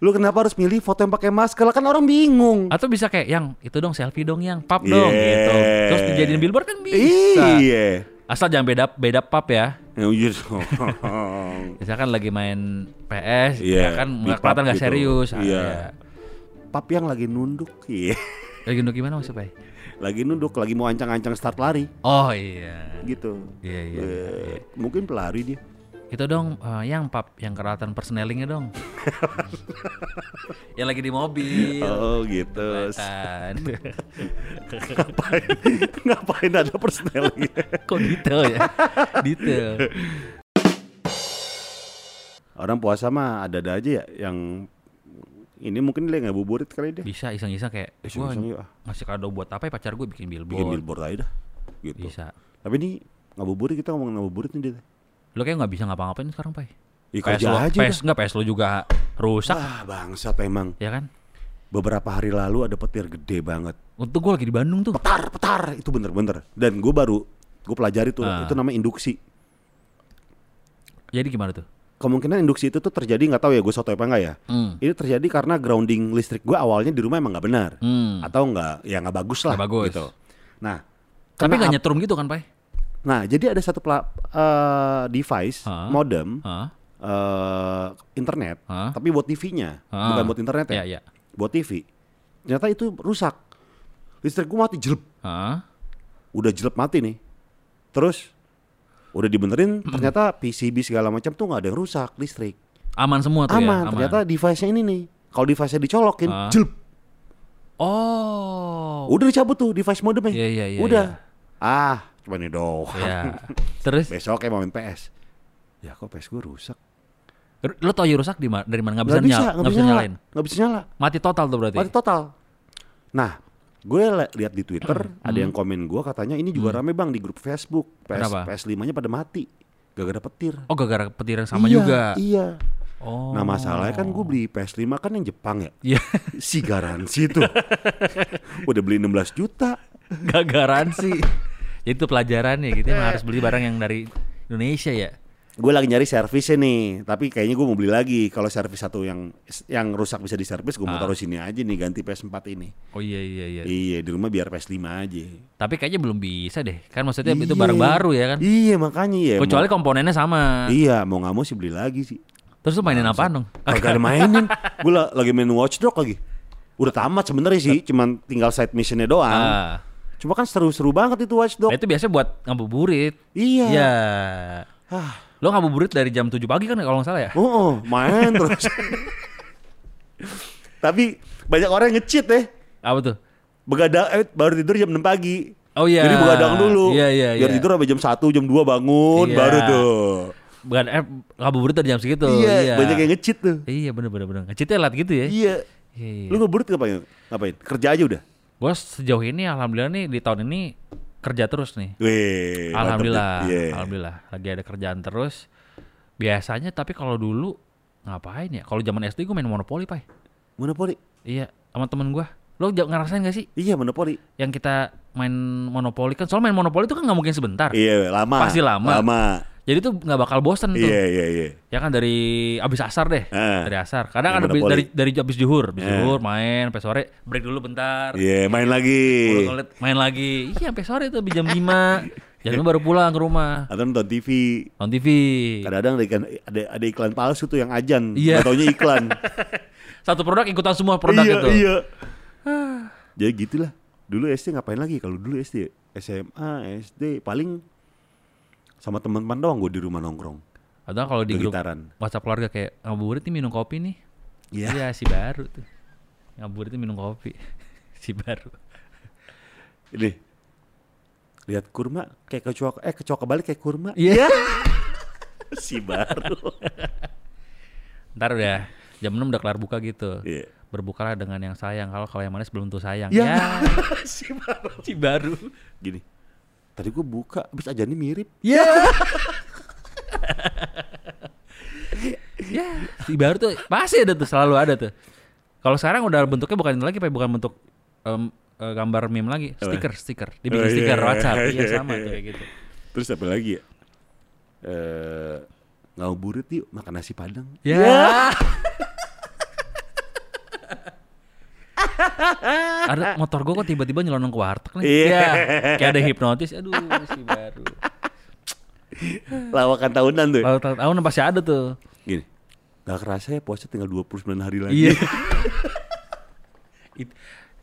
Speaker 1: Lu kenapa harus milih foto yang pakai masker? Lah Kan orang bingung.
Speaker 2: atau bisa kayak yang itu dong selfie dong yang pub dong gitu.
Speaker 1: Yeah.
Speaker 2: Terus dijadiin billboard kan bisa.
Speaker 1: Iya.
Speaker 2: Asal jangan beda beda pub ya.
Speaker 1: Ya, iya dong.
Speaker 2: Misalkan lagi main PS,
Speaker 1: Iya,
Speaker 2: ya kan
Speaker 1: di
Speaker 2: nggak
Speaker 1: pub
Speaker 2: kelihatan nggak
Speaker 1: gitu.
Speaker 2: serius. Ah,
Speaker 1: Iya.
Speaker 2: ya.
Speaker 1: Pap yang lagi nunduk, iya.
Speaker 2: Lagi nunggu gimana maksudnya?
Speaker 1: Lagi nunduk, lagi mau ancang-ancang start lari
Speaker 2: Oh iya.
Speaker 1: gitu.
Speaker 2: Iya iya.
Speaker 1: Eh, Mungkin pelari dia.
Speaker 2: Itu dong eh, yang pub yang kelihatan personelingnya dong. yang lagi di mobil.
Speaker 1: Oh gitu.
Speaker 2: Iya. Kelihatan.
Speaker 1: ngapain, ngapain ada personelnya?
Speaker 2: Kok detail ya? detail.
Speaker 1: Orang puasa mah ada-ada aja ya yang ini mungkin dia nggak buburit kali dia.
Speaker 2: Bisa iseng-iseng kayak "Eh, gua
Speaker 1: Iseng-iseng yuk, ah.
Speaker 2: ngasih kado buat apa ya pacar gue bikin billboard.
Speaker 1: Bikin billboard aja dah. Gitu.
Speaker 2: Bisa.
Speaker 1: Tapi ini ngabuburit kita ngomong ngabuburit nih dia.
Speaker 2: Lo kayak nggak bisa ngapa-ngapain sekarang, Pai.
Speaker 1: Ya,
Speaker 2: PS
Speaker 1: kerja
Speaker 2: lo,
Speaker 1: aja
Speaker 2: PS nggak PS lo juga rusak,
Speaker 1: Ah bangsat emang.
Speaker 2: ya kan?
Speaker 1: Beberapa hari lalu ada petir gede banget.
Speaker 2: Untuk gue lagi di Bandung tuh.
Speaker 1: Petar, petar itu bener-bener. Dan gue baru gue pelajari tuh
Speaker 2: Ah.
Speaker 1: itu namanya induksi.
Speaker 2: Jadi gimana tuh?
Speaker 1: Kemungkinan induksi itu tuh terjadi nggak tahu ya gue sotoy apa enggak ya.
Speaker 2: Hmm.
Speaker 1: Ini terjadi karena grounding listrik gue awalnya di rumah emang nggak benar
Speaker 2: Hmm.
Speaker 1: atau nggak ya nggak bagus lah.
Speaker 2: Nggak bagus.
Speaker 1: Gitu. Nah,
Speaker 2: Tapi
Speaker 1: kena
Speaker 2: nggak
Speaker 1: ap-
Speaker 2: nyetrum gitu kan, Pai?
Speaker 1: Nah, jadi ada satu pla- eh, device
Speaker 2: Hah?
Speaker 1: modem
Speaker 2: Hah?
Speaker 1: eh, internet,
Speaker 2: Hah?
Speaker 1: tapi buat TV-nya,
Speaker 2: Hah?
Speaker 1: bukan buat internet ya,
Speaker 2: Iya, iya.
Speaker 1: buat TV. Ternyata itu rusak. Listrik gua mati jelek,
Speaker 2: Hah?
Speaker 1: udah jelek mati nih. Terus udah dibenerin, ternyata PCB segala macam tuh nggak ada yang rusak listrik.
Speaker 2: Aman Ah. semua tuh ya?
Speaker 1: aman, ternyata device-nya ini nih. Kalau device-nya dicolokin,
Speaker 2: Hah?
Speaker 1: jelek.
Speaker 2: Oh.
Speaker 1: Udah dicabut tuh device modemnya.
Speaker 2: Iya, iya, iya,
Speaker 1: udah.
Speaker 2: iya.
Speaker 1: Ah, cuma ini doang.
Speaker 2: Ya. Terus
Speaker 1: Besok mau main PS. Ya kok PS gua rusak.
Speaker 2: lo tau ya rusak di ma- dari mana?
Speaker 1: Nggak
Speaker 2: Nggak bisa,
Speaker 1: bisa,
Speaker 2: nyala,
Speaker 1: nggak bisa nyala,
Speaker 2: nyalain. Iya.
Speaker 1: nggak bisa nyala,
Speaker 2: Mati total tuh berarti.
Speaker 1: mati total. Nah, gue li- lihat di Twitter
Speaker 2: Hmm.
Speaker 1: ada yang komen gue katanya ini juga rame bang di grup Facebook PS
Speaker 2: Kenapa?
Speaker 1: PS 5 nya pada mati, gak ada petir.
Speaker 2: Oh, gara-gara petir yang sama
Speaker 1: Iya,
Speaker 2: juga.
Speaker 1: Iya.
Speaker 2: Oh.
Speaker 1: Nah masalahnya kan gue beli PS 5 kan yang Jepang ya,
Speaker 2: Iya,
Speaker 1: si garansi tuh udah beli 16 juta.
Speaker 2: gak garansi. Jadi itu pelajarannya gitu, emang harus beli barang yang dari Indonesia ya.
Speaker 1: Gue lagi nyari servisnya nih, tapi kayaknya gue mau beli lagi. Kalau servis satu yang yang rusak bisa diservis, gue mau taruh sini aja nih ganti PS 4 ini.
Speaker 2: Oh iya iya Ah. iya.
Speaker 1: Iya di rumah biar PS 5 aja.
Speaker 2: Tapi kayaknya belum bisa deh. Kan maksudnya itu
Speaker 1: Iya.
Speaker 2: barang baru ya kan.
Speaker 1: Iya makanya ya. mau-
Speaker 2: Kecuali komponennya sama.
Speaker 1: Iya, mau nggak mau sih beli lagi sih.
Speaker 2: Terus lu mainin apaan dong?
Speaker 1: Kagak ada mainin. Gue lagi main Watchdog lagi. Udah tamat sebenarnya sih, cuman tinggal side missionnya doang.
Speaker 2: Ah.
Speaker 1: Cuma kan seru-seru banget itu Watchdog.
Speaker 2: Nah, itu biasanya buat ngabuburit.
Speaker 1: Iya.
Speaker 2: Iya.
Speaker 1: Hah.
Speaker 2: Lo ngabuburit dari jam 7 pagi kan kalau nggak salah ya?
Speaker 1: Oh, oh, main terus. Tapi banyak orang yang nge-cheat ya.
Speaker 2: Apa tuh?
Speaker 1: Begadang eh, baru tidur jam 6 pagi.
Speaker 2: Oh, iya.
Speaker 1: Jadi begadang dulu.
Speaker 2: Iya, iya,
Speaker 1: Biar
Speaker 2: iya.
Speaker 1: tidur sampai jam 1, jam 2 bangun
Speaker 2: Iya.
Speaker 1: baru tuh.
Speaker 2: Bukan eh ngabuburit dari jam segitu.
Speaker 1: iya, banyak yang nge-cheat tuh.
Speaker 2: Iya bener bener bener. Ngecitnya lat gitu ya.
Speaker 1: Iya.
Speaker 2: Iya. iya.
Speaker 1: Lu ngeburit ngapain? Ngapain? Kerja aja udah.
Speaker 2: Gua sejauh ini alhamdulillah nih di tahun ini kerja terus nih.
Speaker 1: Wih, mantep,
Speaker 2: Alhamdulillah,
Speaker 1: Dit. Iya.
Speaker 2: alhamdulillah lagi ada kerjaan terus. Biasanya tapi kalau dulu ngapain ya? Kalau zaman SD gue main monopoli, Pai.
Speaker 1: Monopoli.
Speaker 2: Iya, sama temen gua. Lo ja- ngerasain gak sih
Speaker 1: Iya, monopoli.
Speaker 2: yang kita main monopoli kan? Soal main monopoli itu kan nggak mungkin sebentar.
Speaker 1: Iya, lama.
Speaker 2: Pasti lama.
Speaker 1: Lama.
Speaker 2: Jadi tuh nggak bakal bosen tuh.
Speaker 1: Iya, iya, iya.
Speaker 2: Ya kan dari abis asar deh,
Speaker 1: Ah.
Speaker 2: dari asar. Kadang
Speaker 1: Main
Speaker 2: ada bi-
Speaker 1: monopoli.
Speaker 2: dari dari abis juhur, abis
Speaker 1: Ah.
Speaker 2: juhur main sampai sore, break dulu bentar.
Speaker 1: Iya, main lagi.
Speaker 2: Mulut toilet, main lagi. Iya, sampai sore tuh abis jam 5. jam 5 baru pulang ke rumah.
Speaker 1: Atau nonton TV.
Speaker 2: Nonton TV.
Speaker 1: Kadang-kadang ada iklan, ada, ada iklan palsu tuh yang ajan.
Speaker 2: Iya.
Speaker 1: Nggak taunya iklan.
Speaker 2: Satu produk ikutan semua produk
Speaker 1: iya,
Speaker 2: itu. Ah.
Speaker 1: iya. Jadi gitulah. Dulu SD ngapain lagi? Kalau dulu SD, SMA, SD paling sama teman-teman doang gue di rumah nongkrong.
Speaker 2: Atau kalau di grup
Speaker 1: Kegitaran.
Speaker 2: WhatsApp keluarga kayak ngabuburit nih minum kopi nih.
Speaker 1: Iya.
Speaker 2: Iya si baru tuh. Ngabuburit nih minum kopi. si baru.
Speaker 1: Ini lihat kurma kayak kecoa eh kecoa kebalik kayak kurma.
Speaker 2: Iya.
Speaker 1: si baru.
Speaker 2: Ntar udah jam 6 udah kelar buka gitu.
Speaker 1: Iya.
Speaker 2: Berbukalah dengan yang sayang. Kalau kalau yang manis belum tuh sayang.
Speaker 1: Ya.
Speaker 2: Ya,
Speaker 1: si baru.
Speaker 2: si baru.
Speaker 1: Gini. Tadi gue
Speaker 2: Iya.
Speaker 1: buka, abis ajannya mirip.
Speaker 2: Ya. ya si baru tuh pasti ada tuh selalu ada tuh kalau sekarang udah bentuknya bukan itu lagi Pak, bukan bentuk em, eh, gambar meme lagi stiker stiker dibikin
Speaker 1: Oh, iya,
Speaker 2: stiker
Speaker 1: iya,
Speaker 2: WhatsApp
Speaker 1: iya,
Speaker 2: iya
Speaker 1: iya,
Speaker 2: sama
Speaker 1: iya.
Speaker 2: tuh kayak gitu
Speaker 1: Terus apa lagi ya? Eh ngabuburit yuk makan nasi padang.
Speaker 2: ya ada motor gue kok tiba-tiba nyelonong ke warteg nih
Speaker 1: Iya.
Speaker 2: Ya, kayak ada hipnotis aduh si baru Iya.
Speaker 1: Lawakan tahunan tuh. ya.
Speaker 2: lalu tahun pasti ada tuh
Speaker 1: Gini. Gak kerasa ya puasa tinggal 29 hari lagi.
Speaker 2: Iya. It-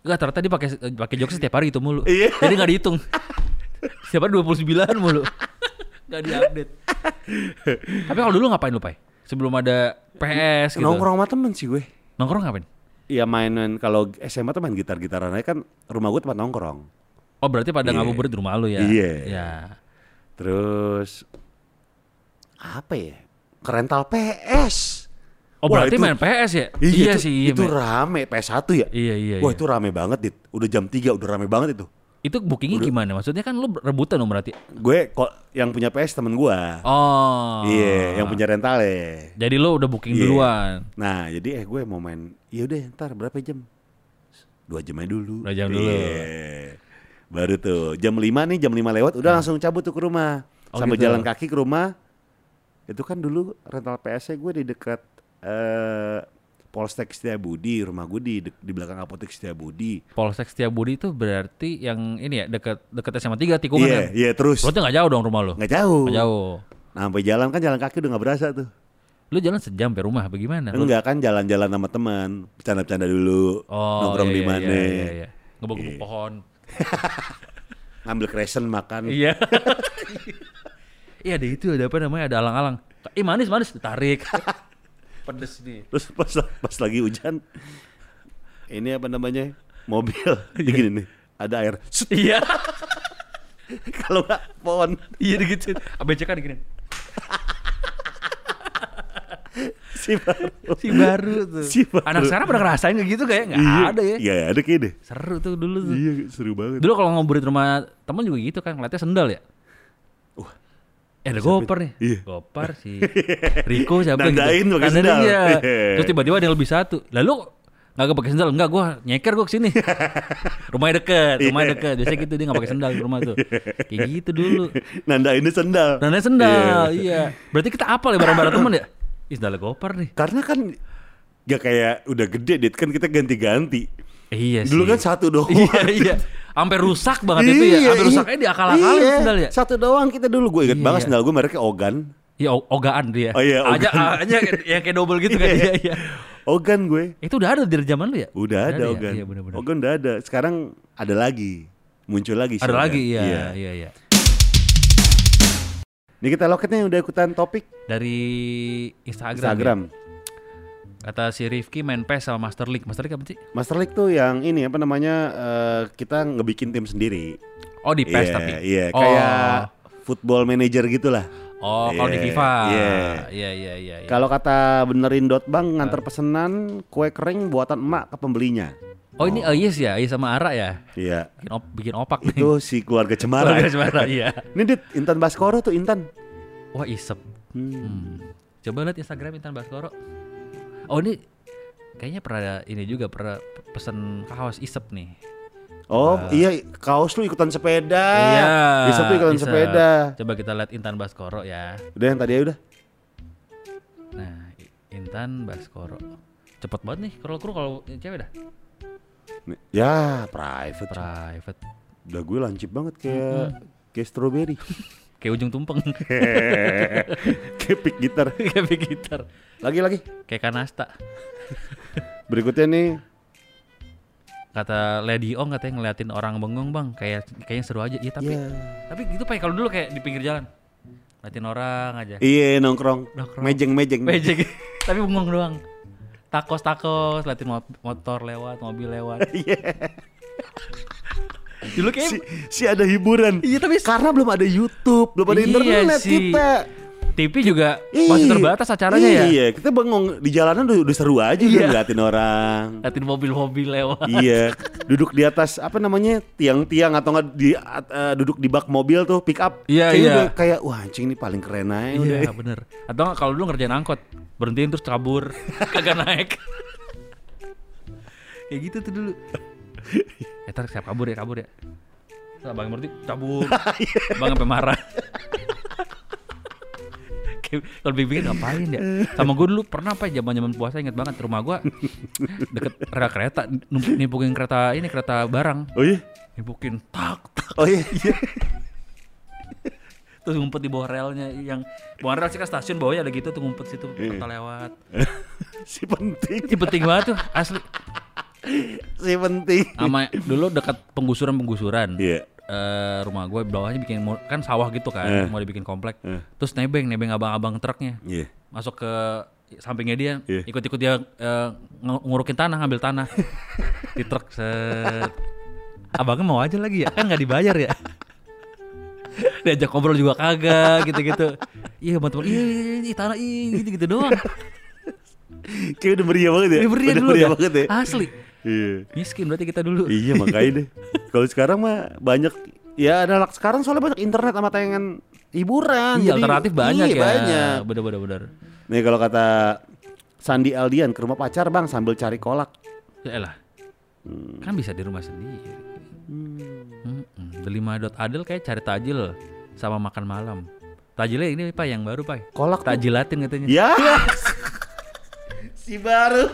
Speaker 2: Enggak, ternyata dia pakai pakai jokes setiap hari gitu mulu.
Speaker 1: Iya.
Speaker 2: Jadi nggak dihitung. Setiap hari 29 mulu. Nggak diupdate. Tapi kalau dulu ngapain lu, Pai? Sebelum ada PS gitu.
Speaker 1: Nongkrong sama temen sih gue.
Speaker 2: Nongkrong ngapain?
Speaker 1: Iya mainan kalau SMA tuh main gitar-gitaran aja kan rumah gue tempat nongkrong.
Speaker 2: Oh, berarti pada ngabuburit di rumah lu ya.
Speaker 1: Iya.
Speaker 2: Ya.
Speaker 1: Terus apa ya? Kerental PS.
Speaker 2: Oh,
Speaker 1: Wah,
Speaker 2: berarti
Speaker 1: itu-
Speaker 2: main PS ya?
Speaker 1: Iya, itu,
Speaker 2: sih, iya.
Speaker 1: Itu
Speaker 2: men.
Speaker 1: rame PS1 ya?
Speaker 2: Iya, iya,
Speaker 1: Wah,
Speaker 2: iya.
Speaker 1: itu rame banget, Dit. Udah jam 3 udah rame banget itu.
Speaker 2: Itu bookingnya gimana? Maksudnya kan lu rebutan dong berarti.
Speaker 1: Gue kok yang punya PS temen gua.
Speaker 2: Oh.
Speaker 1: Iya, yang punya rental ya.
Speaker 2: Jadi lu udah booking
Speaker 1: Iya.
Speaker 2: duluan.
Speaker 1: Nah, jadi eh gue mau main. Ya udah, ntar berapa jam? Dua jam aja dulu.
Speaker 2: Dua jam dulu.
Speaker 1: Iya. Baru tuh jam 5 nih, jam 5 lewat udah langsung cabut tuh ke rumah.
Speaker 2: Nah. Oh,
Speaker 1: Sampai
Speaker 2: gitu.
Speaker 1: jalan kaki ke rumah. Itu kan dulu rental PS-nya gue di dekat eh Polstek Setiabudi, rumah gue di dek- di belakang apotek Setiabudi.
Speaker 2: Polsek Setiabudi itu berarti yang ini ya dekat dekat SMA 3 tikungan
Speaker 1: Iya,
Speaker 2: ya.
Speaker 1: iya terus.
Speaker 2: Berarti nggak jauh dong rumah lu.
Speaker 1: Nggak jauh.
Speaker 2: Nggak jauh.
Speaker 1: Nah, sampai jalan kan jalan kaki udah nggak berasa tuh.
Speaker 2: Lu jalan sejam sampai rumah bagaimana? Lu-
Speaker 1: Enggak kan jalan-jalan sama teman, bercanda-bercanda dulu,
Speaker 2: Oh,
Speaker 1: nongkrong
Speaker 2: iya,
Speaker 1: di
Speaker 2: iya,
Speaker 1: mana,
Speaker 2: Iya, iya, iya. Ngebuk-ngebuk pohon.
Speaker 1: ngambil kresen makan.
Speaker 2: Iya. Iya, ada itu ada apa namanya? Ada alang-alang. Ih manis-manis ditarik. Pedes nih.
Speaker 1: Terus pas pas lagi hujan ini apa namanya? Mobil begini nih. Ada air. Sut,
Speaker 2: Iya.
Speaker 1: Kalau nggak pohon
Speaker 2: Iya gitu. ABC kan gini.
Speaker 1: si baru.
Speaker 2: Si baru tuh.
Speaker 1: Si baru.
Speaker 2: Anak sekarang pernah ngerasain kayak gitu kayak nggak ada ya.
Speaker 1: Iya, ada kayak deh.
Speaker 2: Seru tuh dulu tuh.
Speaker 1: Iya, seru banget.
Speaker 2: Dulu kalau ngobrol di rumah temen juga gitu kan, ngeliatnya sendal ya.
Speaker 1: Wah.
Speaker 2: Eh, ada gopar nih.
Speaker 1: Iya.
Speaker 2: Gopar si Riko siapa gitu.
Speaker 1: Nandain pakai
Speaker 2: Nandain,
Speaker 1: sendal.
Speaker 2: iya.
Speaker 1: Iya.
Speaker 2: Terus tiba-tiba ada yang lebih satu. Lalu nggak pakai sendal, enggak gua nyeker gua kesini. rumahnya deket,
Speaker 1: Iya.
Speaker 2: rumahnya deket. Biasanya gitu dia nggak pakai sendal di rumah tuh. Kayak gitu dulu.
Speaker 1: Nanda ini sendal.
Speaker 2: Nandain
Speaker 1: Iya.
Speaker 2: sendal, iya. Berarti kita apal ya barang-barang temen ya? Ih, sendalnya gopar nih.
Speaker 1: Karena kan ya kayak udah gede dit kan kita ganti-ganti.
Speaker 2: Iya sih.
Speaker 1: Dulu kan satu doang.
Speaker 2: Iya, iya. Sampai rusak banget itu ya. Sampai rusaknya diakal-akalin
Speaker 1: Iya,
Speaker 2: sendal ya.
Speaker 1: Satu doang kita dulu. Gue inget
Speaker 2: Iya.
Speaker 1: banget sendal gue mereknya Ogan.
Speaker 2: Ya o- ogaan dia.
Speaker 1: Oh, iya,
Speaker 2: Aja
Speaker 1: ogaan.
Speaker 2: aja yang kayak double gitu kan. Iya iya.
Speaker 1: Ogan gue.
Speaker 2: Itu udah ada dari zaman lu ya?
Speaker 1: Udah ada
Speaker 2: ya?
Speaker 1: Ogan.
Speaker 2: Iya benar-benar.
Speaker 1: Ogan udah ada. Sekarang ada lagi. Muncul lagi.
Speaker 2: Ada
Speaker 1: Shogun.
Speaker 2: lagi iya iya iya.
Speaker 1: Ini kita loketnya yang udah ikutan topik
Speaker 2: Dari Instagram.
Speaker 1: Instagram.
Speaker 2: ya. Kata si Rifki main PES sama Master League. Master League apa sih?
Speaker 1: Master League tuh yang ini apa namanya eh, kita ngebikin tim sendiri.
Speaker 2: Oh di PES
Speaker 1: Iya,
Speaker 2: tapi.
Speaker 1: Iya,
Speaker 2: oh.
Speaker 1: kayak football manager gitulah.
Speaker 2: Oh, kalau di
Speaker 1: Iya,
Speaker 2: FIFA.
Speaker 1: iya.
Speaker 2: Iya iya iya. iya.
Speaker 1: Kalau kata benerin dot bang nganter pesanan kue kering buatan emak ke pembelinya.
Speaker 2: Oh ini oh. Yes ya, Yes sama Ara ya.
Speaker 1: Iya.
Speaker 2: Bikin, op- bikin opak nih.
Speaker 1: Itu si keluarga Cemara.
Speaker 2: Keluarga Cemara, iya.
Speaker 1: Ini Dit, Intan Baskoro tuh Intan.
Speaker 2: Wah isep. Hmm. Coba lihat Instagram Intan Baskoro. Oh ini kayaknya pernah ada ini juga pernah pesen kaos isep nih.
Speaker 1: Oh
Speaker 2: Ah.
Speaker 1: iya kaos lu ikutan sepeda. Bisa tuh ikutan
Speaker 2: Iya, isep.
Speaker 1: sepeda.
Speaker 2: Coba kita lihat Intan Baskoro ya.
Speaker 1: Udah yang tadi aja udah.
Speaker 2: Nah, I- Intan Baskoro. Cepet banget nih kalau kru kalau cewek dah.
Speaker 1: Nih, Ya private.
Speaker 2: Private.
Speaker 1: Udah gue lancip banget kayak kayak strawberry.
Speaker 2: Kayak ujung tumpeng.
Speaker 1: kayak pick gitar.
Speaker 2: Kayak big gitar.
Speaker 1: Lagi lagi.
Speaker 2: Kayak kanasta.
Speaker 1: Berikutnya nih
Speaker 2: Kata Lady Ong katanya ngeliatin orang bengong bang. Kayak kayaknya seru aja. Iya tapi
Speaker 1: Ya.
Speaker 2: tapi gitu pak kalau dulu kayak di pinggir jalan ngeliatin orang aja.
Speaker 1: Iya nongkrong.
Speaker 2: Nongkrong.
Speaker 1: Mejeng-mejeng.
Speaker 2: Pejek. Hmm. tapi bengong doang. Takos takos, ngeliatin mot- motor lewat, mobil lewat.
Speaker 1: Iya.
Speaker 2: Dulu kayak
Speaker 1: Si, si ada hiburan.
Speaker 2: Iya, tapi-
Speaker 1: karena belum ada YouTube, belum ada
Speaker 2: Iya
Speaker 1: internet
Speaker 2: sih.
Speaker 1: kita.
Speaker 2: TV juga masih
Speaker 1: Iya.
Speaker 2: terbatas acaranya
Speaker 1: iya,
Speaker 2: ya. Iya.
Speaker 1: Iya, kita bengong di jalanan udah, udah seru aja udah ngeliatin orang.
Speaker 2: Ngeliatin mobil-mobil lewat.
Speaker 1: iya, duduk di atas apa namanya tiang-tiang atau nggak di at- eh, duduk di bak mobil tuh pick up.
Speaker 2: Iya,
Speaker 1: Kayaknya
Speaker 2: iya. Eh,
Speaker 1: udah Kayak wah anjing ini paling keren aja. udah.
Speaker 2: Iya bener Atau nggak kalau dulu ngerjain angkot berhentiin terus kabur kagak naik kayak gitu tuh dulu ya ntar siap kabur ya kabur ya Salah bang berarti cabut bang sampai marah Kayak- kalau pikir ngapain ya sama gue dulu pernah apa ya zaman zaman puasa inget banget rumah gue deket rel kereta nump- nimpukin kereta ini kereta barang
Speaker 1: Oh iya.
Speaker 2: nimpukin tak tak
Speaker 1: Oh iya.
Speaker 2: terus ngumpet di bawah relnya yang bawah rel sih kan stasiun bawahnya ada gitu tuh ngumpet situ kereta lewat
Speaker 1: si penting,
Speaker 2: ini penting banget tuh asli
Speaker 1: si penting.
Speaker 2: sama dulu dekat penggusuran penggusuran
Speaker 1: Iya.
Speaker 2: eh, rumah gue bawahnya bikin mau- kan sawah gitu kan
Speaker 1: Eh.
Speaker 2: mau dibikin komplek
Speaker 1: Eh.
Speaker 2: terus nebeng nebeng abang-abang truknya
Speaker 1: Iya.
Speaker 2: masuk ke sampingnya dia
Speaker 1: Iya.
Speaker 2: ikut-ikut dia eh, ng- ngurukin tanah ngambil tanah di truk set abangnya mau aja lagi ya kan nggak dibayar ya diajak ngobrol juga kagak gitu-gitu iya teman-teman iya iya, iya, tanah iya gitu-gitu doang
Speaker 1: Kayak udah meriah banget ya.
Speaker 2: diberi
Speaker 1: udah
Speaker 2: dulu Ah.
Speaker 1: meriah
Speaker 2: dah.
Speaker 1: banget ya.
Speaker 2: asli
Speaker 1: Iya.
Speaker 2: miskin berarti kita dulu
Speaker 1: Iya makanya deh. Kalau sekarang mah banyak ya ada anak sekarang soalnya banyak internet sama tayangan hiburan.
Speaker 2: Iya,
Speaker 1: Jadi-
Speaker 2: alternatif banyak
Speaker 1: iya,
Speaker 2: ya.
Speaker 1: Banyak.
Speaker 2: Bener bener bener.
Speaker 1: Nih kalau kata Sandi Aldian ke rumah pacar bang sambil cari kolak.
Speaker 2: Ya elah.
Speaker 1: Hmm.
Speaker 2: Kan bisa di rumah sendiri. Hmm. Delima dot adel kayak cari tajil sama makan malam. Tajilnya ini pak yang baru pak.
Speaker 1: Kolak tuh.
Speaker 2: Tajilatin katanya.
Speaker 1: Ya. si baru.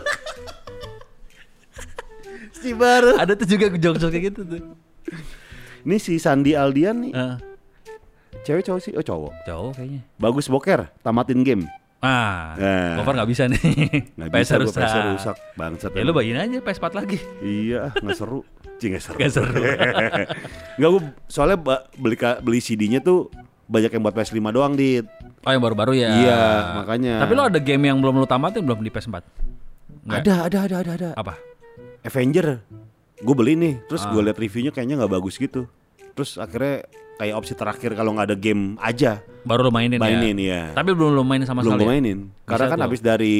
Speaker 1: si baru.
Speaker 2: Ada tuh juga jokes kayak gitu tuh.
Speaker 1: Nih si Sandi Aldian nih.
Speaker 2: Eh,
Speaker 1: Cewek cowok sih? Oh cowok.
Speaker 2: jauh kayaknya.
Speaker 1: Bagus boker, tamatin game.
Speaker 2: Ah,
Speaker 1: Eh.
Speaker 2: cover nggak bisa nih.
Speaker 1: Nggak
Speaker 2: PS
Speaker 1: bisa gua
Speaker 2: rusak.
Speaker 1: PS rusak. Bangsat.
Speaker 2: Ya lu bagiin aja PS4 lagi.
Speaker 1: Iya, nggak seru. Cing, nggak seru.
Speaker 2: Nggak seru.
Speaker 1: Nggak, gue soalnya ba- beli ka- beli CD-nya tuh banyak yang buat PS5 doang, Dit.
Speaker 2: Oh yang baru-baru ya.
Speaker 1: Iya, makanya.
Speaker 2: Tapi lo ada game yang belum lo tamatin belum di PS4? Nggak.
Speaker 1: Ada, ada, ada, ada, ada.
Speaker 2: Apa?
Speaker 1: Avenger. Gue beli nih, terus gue liat reviewnya kayaknya nggak bagus gitu. Terus akhirnya kayak opsi terakhir kalau nggak ada game aja
Speaker 2: Baru lo mainin,
Speaker 1: mainin
Speaker 2: ya.
Speaker 1: ya.
Speaker 2: Tapi belum lo main sama
Speaker 1: Belum
Speaker 2: sekali.
Speaker 1: gue
Speaker 2: ya?
Speaker 1: mainin. Karena
Speaker 2: Bisa
Speaker 1: kan
Speaker 2: tuh.
Speaker 1: habis dari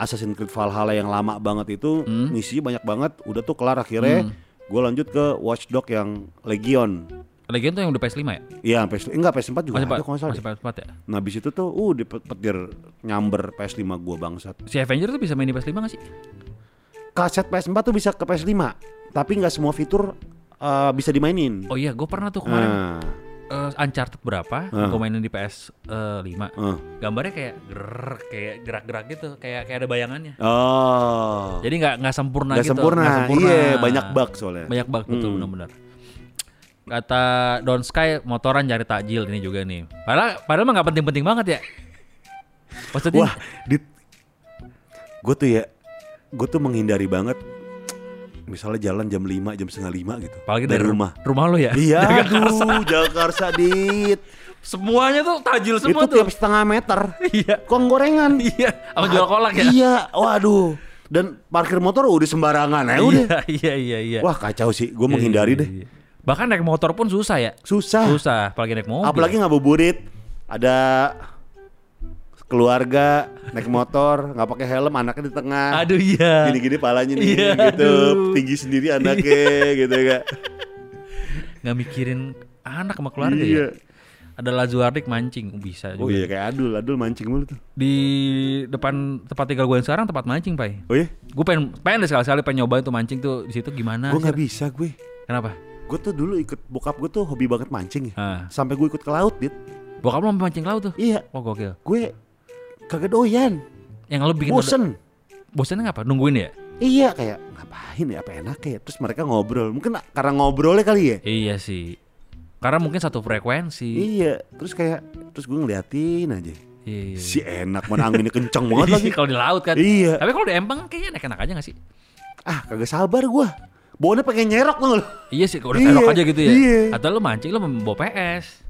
Speaker 1: Assassin's Creed Valhalla yang lama banget itu
Speaker 2: Hmm.
Speaker 1: misinya banyak banget, udah tuh kelar akhirnya. Gue lanjut ke Watch Dogs yang Legion.
Speaker 2: Legion tuh yang udah PS5 ya?
Speaker 1: Iya, PS enggak PS4 juga
Speaker 2: Masih,
Speaker 1: ada
Speaker 2: pa-
Speaker 1: kalau nggak salah
Speaker 2: masih
Speaker 1: deh.
Speaker 2: PS4 ya?
Speaker 1: Nah, habis itu tuh uh di pe- petir nyamber PS5 gua bangsat.
Speaker 2: Si Avenger tuh bisa main di PS5 gak sih?
Speaker 1: Kaset PS4 tuh bisa ke PS5, tapi nggak semua fitur uh, bisa dimainin.
Speaker 2: Oh iya, gue pernah tuh kemarin
Speaker 1: nah,
Speaker 2: eh, Uncharted berapa,
Speaker 1: Ah.
Speaker 2: gue mainin di PS5
Speaker 1: Ah.
Speaker 2: Gambarnya kayak gerrrr, kayak gerak-gerak gitu, kayak kayak ada bayangannya
Speaker 1: oh.
Speaker 2: Jadi nggak nggak sempurna
Speaker 1: Nggak
Speaker 2: gitu
Speaker 1: sempurna.
Speaker 2: nggak
Speaker 1: Iya, banyak bug soalnya. Hmm.
Speaker 2: Banyak bug, betul benar-benar Kata Don Sky, motoran cari takjil ini juga nih Padahal, padahal mah nggak penting-penting banget ya Maksudnya,
Speaker 1: Wah, dit gue tuh ya gue tuh menghindari banget misalnya jalan jam 5, jam setengah 5 gitu.
Speaker 2: apalagi
Speaker 1: dari rumah.
Speaker 2: Rumah lo ya?
Speaker 1: Iya, aduh, Jakarta dit.
Speaker 2: Semuanya tuh tajil
Speaker 1: Itu
Speaker 2: semua tuh
Speaker 1: tiap setengah meter.
Speaker 2: Iya.
Speaker 1: Kong gorengan.
Speaker 2: Iya, sama jual kolak ya?
Speaker 1: Iya, waduh. Dan parkir motor udah sembarangan ya udah.
Speaker 2: Iya, iya, iya, iya.
Speaker 1: Wah kacau sih, gue menghindari
Speaker 2: Iya,
Speaker 1: deh.
Speaker 2: iya, iya. Bahkan naik motor pun susah ya.
Speaker 1: Susah.
Speaker 2: Susah, apalagi naik mobil.
Speaker 1: Apalagi ngabuburit, ada keluarga naik motor nggak pakai helm anaknya di tengah
Speaker 2: Aduh iya.
Speaker 1: gini-gini palanya nih
Speaker 2: Iya,
Speaker 1: gitu
Speaker 2: aduh. Iya.
Speaker 1: tinggi sendiri anaknya gitu enggak
Speaker 2: Nggak mikirin anak sama keluarga
Speaker 1: Iya.
Speaker 2: ya. Ada Lazuardik mancing Uh, bisa
Speaker 1: oh
Speaker 2: juga.
Speaker 1: iya kayak adul adul mancing mulu tuh
Speaker 2: Di depan tempat tinggal gue yang sekarang tempat mancing, Pai.
Speaker 1: oh iya
Speaker 2: Gue pengen pengen deh sekali-sekali pengen nyobain tuh mancing tuh di situ gimana.
Speaker 1: gue nggak
Speaker 2: anjir.
Speaker 1: bisa gue
Speaker 2: Kenapa?
Speaker 1: gue tuh dulu ikut bokap gue tuh hobi banget mancing ya
Speaker 2: Ah.
Speaker 1: sampai gue ikut ke laut dit
Speaker 2: Bokap lo mancing laut tuh.
Speaker 1: iya
Speaker 2: Wah gokil.
Speaker 1: gue kagak doyan
Speaker 2: Yang lo bikin
Speaker 1: bosen
Speaker 2: bosannya ngapa? Nungguin ya?
Speaker 1: Iya kayak ngapain ya apa enaknya ya Terus mereka ngobrol Mungkin karena ngobrolnya kali ya
Speaker 2: Iya sih. Karena mungkin satu frekuensi.
Speaker 1: Iya Terus kayak Terus gue ngeliatin aja
Speaker 2: Iya.
Speaker 1: Si enak mana anginnya kenceng banget lagi
Speaker 2: Kalau di laut kan.
Speaker 1: Iya.
Speaker 2: Tapi kalau di empang kayaknya enak-enak aja gak sih?
Speaker 1: Ah kagak sabar gue Bawanya pengen nyerok tuh lo
Speaker 2: Iya sih, kalau udah
Speaker 1: Iya,
Speaker 2: terok aja gitu ya.
Speaker 1: iya.
Speaker 2: Atau lu mancing lu bawa PS.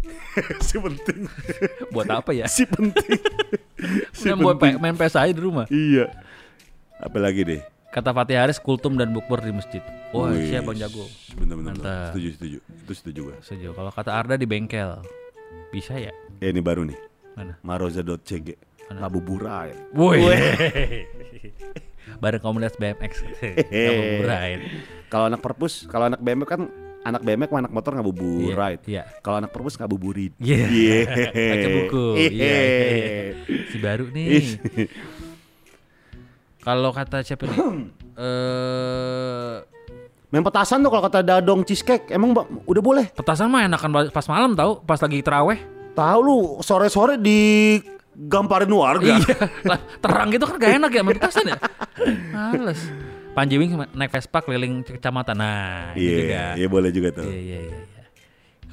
Speaker 1: Si penting
Speaker 2: Buat apa ya?
Speaker 1: Si penting Si
Speaker 2: Main, bawa
Speaker 1: penting
Speaker 2: P- main PS aja di rumah.
Speaker 1: Iya Apalagi deh
Speaker 2: Kata Fatih Haris, kultum dan bukber di masjid. Wah,
Speaker 1: Wih,
Speaker 2: siapa yang jago?
Speaker 1: Bener bener bener.
Speaker 2: Mantap.
Speaker 1: Setuju setuju Itu setuju gue
Speaker 2: Setuju. Kalau kata Arda di bengkel. Bisa ya?
Speaker 1: Eh ini baru nih
Speaker 2: Mana?
Speaker 1: Maroza.cg Ngabuburai
Speaker 2: Woi. Bareng komunitas BMX. Ngabuburit.
Speaker 1: Kalau anak perpus Kalau anak BMX kan anak BMX sama anak motor ngabuburit.
Speaker 2: Iya, iya.
Speaker 1: Kalau anak perpus ngabuburit.
Speaker 2: Iya.
Speaker 1: Iya.
Speaker 2: Baca buku. Iya. Si baru
Speaker 1: Iya.
Speaker 2: nih. Kalau kata siapa nih? Eh,
Speaker 1: Main petasan tuh kalau kata Dadong Cheesecake emang ba- udah boleh.
Speaker 2: petasan mah enakan pas malam tahu, pas lagi teraweh.
Speaker 1: Tahu lu sore-sore digamparin warga.
Speaker 2: Iya, lah, terang gitu kan gak enak ya main petasan ya. Males. Panji Wing naik Vespa keliling kecamatan. Nah, itu juga.
Speaker 1: Iya, iya boleh juga tuh.
Speaker 2: Iya, iya, iya. iya.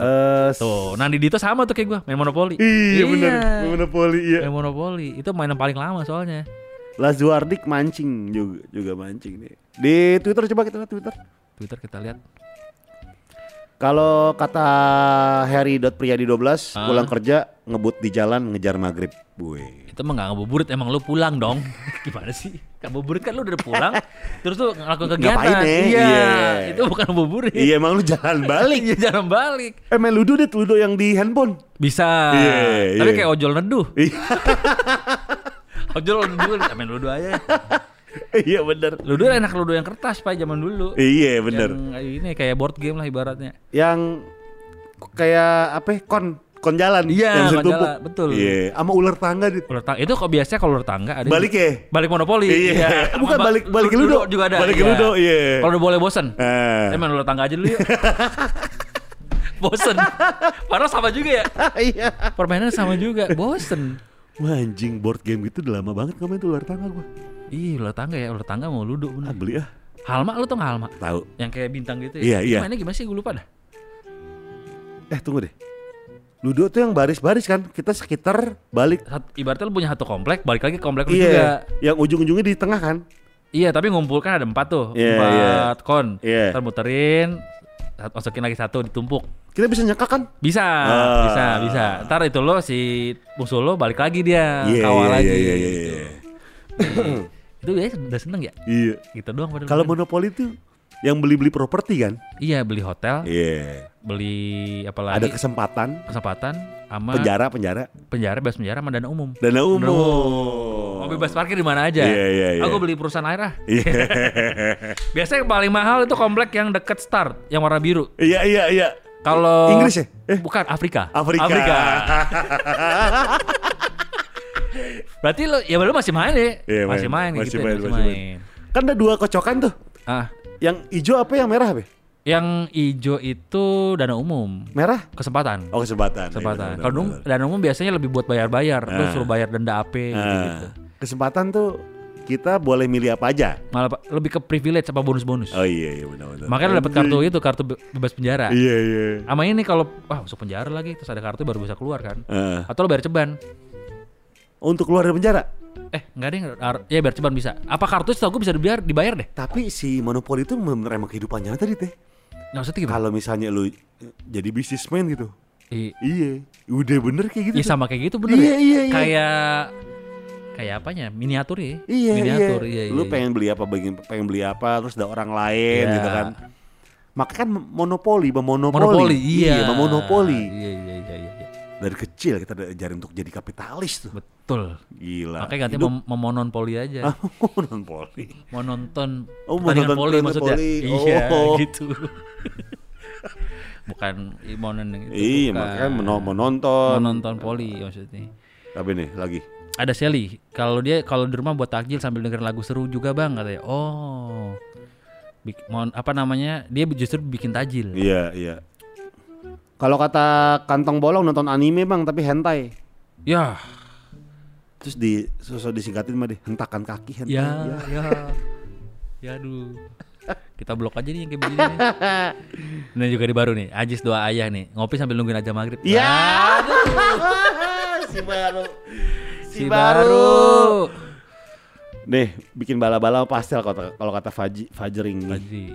Speaker 1: Eh, s-
Speaker 2: Tuh, Nandi Dito sama tuh kayak gua, main monopoli.
Speaker 1: iya benar, monopoli iya.
Speaker 2: Main monopoli. Itu mainan paling lama soalnya.
Speaker 1: Lazuardik mancing juga juga mancing nih. Di Twitter coba kita lihat Twitter.
Speaker 2: Twitter kita lihat.
Speaker 1: Kalau kata Harry.priyadi12
Speaker 2: Ah.
Speaker 1: pulang kerja ngebut di jalan ngejar maghrib gue.
Speaker 2: Itu mah gak ngabuburit, emang lu pulang dong. Gimana sih? Ngabuburit kan lu udah pulang, terus lu ngelakuin kegiatan.
Speaker 1: Ngapain ya?
Speaker 2: Iya,
Speaker 1: Iya.
Speaker 2: itu bukan ngabuburit.
Speaker 1: Iya emang lu jalan balik.
Speaker 2: Iya, jarang balik.
Speaker 1: Eh main ludo deh ludo yang di handphone.
Speaker 2: Bisa.
Speaker 1: Iya,
Speaker 2: Tapi
Speaker 1: iya.
Speaker 2: kayak ojol neduh.
Speaker 1: Iya.
Speaker 2: Ojol neduh, main ludo aja.
Speaker 1: iya bener.
Speaker 2: Ludo enak ludo yang kertas, Pak, zaman dulu.
Speaker 1: Iya bener.
Speaker 2: Yang ini kayak board game lah ibaratnya.
Speaker 1: Yang kayak apa? ya, Kon kon jalan.
Speaker 2: Iya,
Speaker 1: yang bisa
Speaker 2: kon
Speaker 1: ditumpuk.
Speaker 2: jalan, betul.
Speaker 1: Iya. Sama ular tangga di.
Speaker 2: Ular tangga itu kok biasanya kalau ular tangga ada
Speaker 1: Balik ya?
Speaker 2: Balik monopoli.
Speaker 1: Iya.
Speaker 2: Sama
Speaker 1: Bukan
Speaker 2: ba-
Speaker 1: balik- balik ke ludo.
Speaker 2: juga ada.
Speaker 1: Balik ke ludo, iya.
Speaker 2: Kalau udah boleh bosen.
Speaker 1: Eh.
Speaker 2: Eh main ular tangga aja dulu yuk. bosen. Padahal sama juga ya.
Speaker 1: Iya.
Speaker 2: Permainan sama juga. Bosen.
Speaker 1: Wah anjing board game gitu udah lama banget kamu itu ular tangga gua.
Speaker 2: Ih ular tangga ya, ular tangga mau ludo
Speaker 1: Ah,
Speaker 2: bener.
Speaker 1: beli ah.
Speaker 2: Halma lu tau gak halma?
Speaker 1: Tahu.
Speaker 2: Yang kayak bintang gitu
Speaker 1: Iya,
Speaker 2: ya. Itu
Speaker 1: iya.
Speaker 2: Mainnya gimana sih gue lupa dah.
Speaker 1: Eh tunggu deh. Ludo tuh yang baris-baris kan. Kita sekitar balik.
Speaker 2: Sat- Ibaratnya lu punya satu komplek, balik lagi ke komplek lu juga.
Speaker 1: Iya. Yang ujung-ujungnya di tengah kan.
Speaker 2: Iya, tapi ngumpulkan ada empat tuh,
Speaker 1: Iya,
Speaker 2: empat
Speaker 1: iya.
Speaker 2: kon.
Speaker 1: Iya.
Speaker 2: Ntar muterin, sat- masukin lagi satu ditumpuk.
Speaker 1: Kita bisa nyekak kan?
Speaker 2: Bisa,
Speaker 1: Ah.
Speaker 2: bisa, bisa. Ntar itu lo si musuh lo balik lagi dia Nah,
Speaker 1: Iya,
Speaker 2: kawal lagi. gitu. Itu ya udah seneng ya.
Speaker 1: Iya.
Speaker 2: Gitu doang. padahal.
Speaker 1: Kalau monopoli tuh yang beli-beli properti kan?
Speaker 2: iya beli hotel,
Speaker 1: Iya.
Speaker 2: beli apa lagi?
Speaker 1: Ada kesempatan
Speaker 2: kesempatan sama
Speaker 1: penjara-penjara
Speaker 2: penjara, bebas penjara sama dana umum.
Speaker 1: dana umum.
Speaker 2: Mau bebas parkir di mana aja.
Speaker 1: Iya, iya, iya.
Speaker 2: Aku beli perusahaan air ah.
Speaker 1: Iya.
Speaker 2: Biasanya yang paling mahal itu komplek yang deket start, yang warna biru.
Speaker 1: Iya iya iya.
Speaker 2: Kalau
Speaker 1: Inggris ya? Eh.
Speaker 2: bukan Afrika.
Speaker 1: Afrika.
Speaker 2: Berarti lo ya lo masih main ya?
Speaker 1: Iya, main.
Speaker 2: masih main,
Speaker 1: Masih
Speaker 2: gitu,
Speaker 1: main,
Speaker 2: ya,
Speaker 1: masih main. Kan ada dua kocokan tuh.
Speaker 2: Ah,
Speaker 1: Yang hijau apa yang merah, Be?
Speaker 2: yang hijau itu dana umum,
Speaker 1: Merah?
Speaker 2: kesempatan.
Speaker 1: Oh, kesempatan. Iya,
Speaker 2: kesempatan.
Speaker 1: benar,
Speaker 2: Kalau
Speaker 1: benar,
Speaker 2: dum-
Speaker 1: benar.
Speaker 2: dana umum biasanya lebih buat bayar-bayar, lo
Speaker 1: Ah.
Speaker 2: suruh bayar denda AP gitu.
Speaker 1: Ah, kesempatan tuh kita boleh milih apa aja.
Speaker 2: Malah pa- lebih ke privilege apa bonus-bonus.
Speaker 1: Oh iya iya benar-benar.
Speaker 2: Makanya lo dapat kartu itu, kartu be- bebas penjara.
Speaker 1: Iya iya.
Speaker 2: Sama ini kalau wah masuk penjara lagi terus ada kartu baru bisa keluar kan.
Speaker 1: Ah.
Speaker 2: Atau lo bayar ceban.
Speaker 1: Untuk keluar dari penjara.
Speaker 2: Eh, enggak deh, ar- ya bayar ceban bisa. Apa kartu setahu gue bisa dibayar, dibayar deh.
Speaker 1: Tapi si monopoli itu benar emang kehidupan nyata tadi teh.
Speaker 2: Nggak usah gimana?
Speaker 1: Kalau misalnya lu eh, jadi bisnismen gitu.
Speaker 2: I-
Speaker 1: Iya, udah bener kayak gitu.
Speaker 2: Iya
Speaker 1: tuh.
Speaker 2: sama kayak gitu bener
Speaker 1: Iya,
Speaker 2: ya?
Speaker 1: iya, iya.
Speaker 2: Kayak kayak apanya? Miniatur ya?
Speaker 1: Iya,
Speaker 2: Miniatur,
Speaker 1: iya.
Speaker 2: iya, iya.
Speaker 1: Lu pengen beli apa, pengen, pengen beli apa, terus ada orang lain
Speaker 2: Iya.
Speaker 1: gitu kan. Makanya kan monopoli, memonopoli.
Speaker 2: monopoli, iya.
Speaker 1: memonopoli.
Speaker 2: Iya, iya, iya, iya, iya.
Speaker 1: Dari kecil kita diajarin untuk jadi kapitalis tuh.
Speaker 2: Betul.
Speaker 1: Gila.
Speaker 2: Makanya ganti
Speaker 1: Nah, Hidup-
Speaker 2: mem memononpoli aja.
Speaker 1: Ah, monopoli.
Speaker 2: Mau nonton
Speaker 1: Oh, mau
Speaker 2: pertandingan
Speaker 1: nonton
Speaker 2: poli
Speaker 1: pertandingan
Speaker 2: maksudnya.
Speaker 1: poli.
Speaker 2: Iya,
Speaker 1: Oh.
Speaker 2: gitu. Bukan i- monon yang itu.
Speaker 1: Iya,
Speaker 2: bukan.
Speaker 1: makanya meno- menonton.
Speaker 2: Menonton poli maksudnya.
Speaker 1: Tapi nih lagi.
Speaker 2: Ada Sally, kalau dia kalau di rumah buat takjil sambil dengerin lagu seru juga bang katanya. Oh, Bik- mon- apa namanya? Dia justru bikin tajil.
Speaker 1: Iya, iya. Kalau kata kantong bolong nonton anime bang, tapi hentai.
Speaker 2: Ya,
Speaker 1: Terus di sosok disingkatin mah deh, hentakan kaki hentai.
Speaker 2: ya,
Speaker 1: Ya.
Speaker 2: ya, ya, aduh. Kita blok aja nih yang kayak begini. nih. Ini juga di baru nih, Ajis doa ayah nih, ngopi sambil nungguin aja maghrib.
Speaker 1: Ya,
Speaker 2: Wah,
Speaker 1: aduh. si baru.
Speaker 2: si baru.
Speaker 1: Nih, bikin bala-bala pastel kalau kata- kalau kata Faji, Fajring nih.
Speaker 2: Tadi.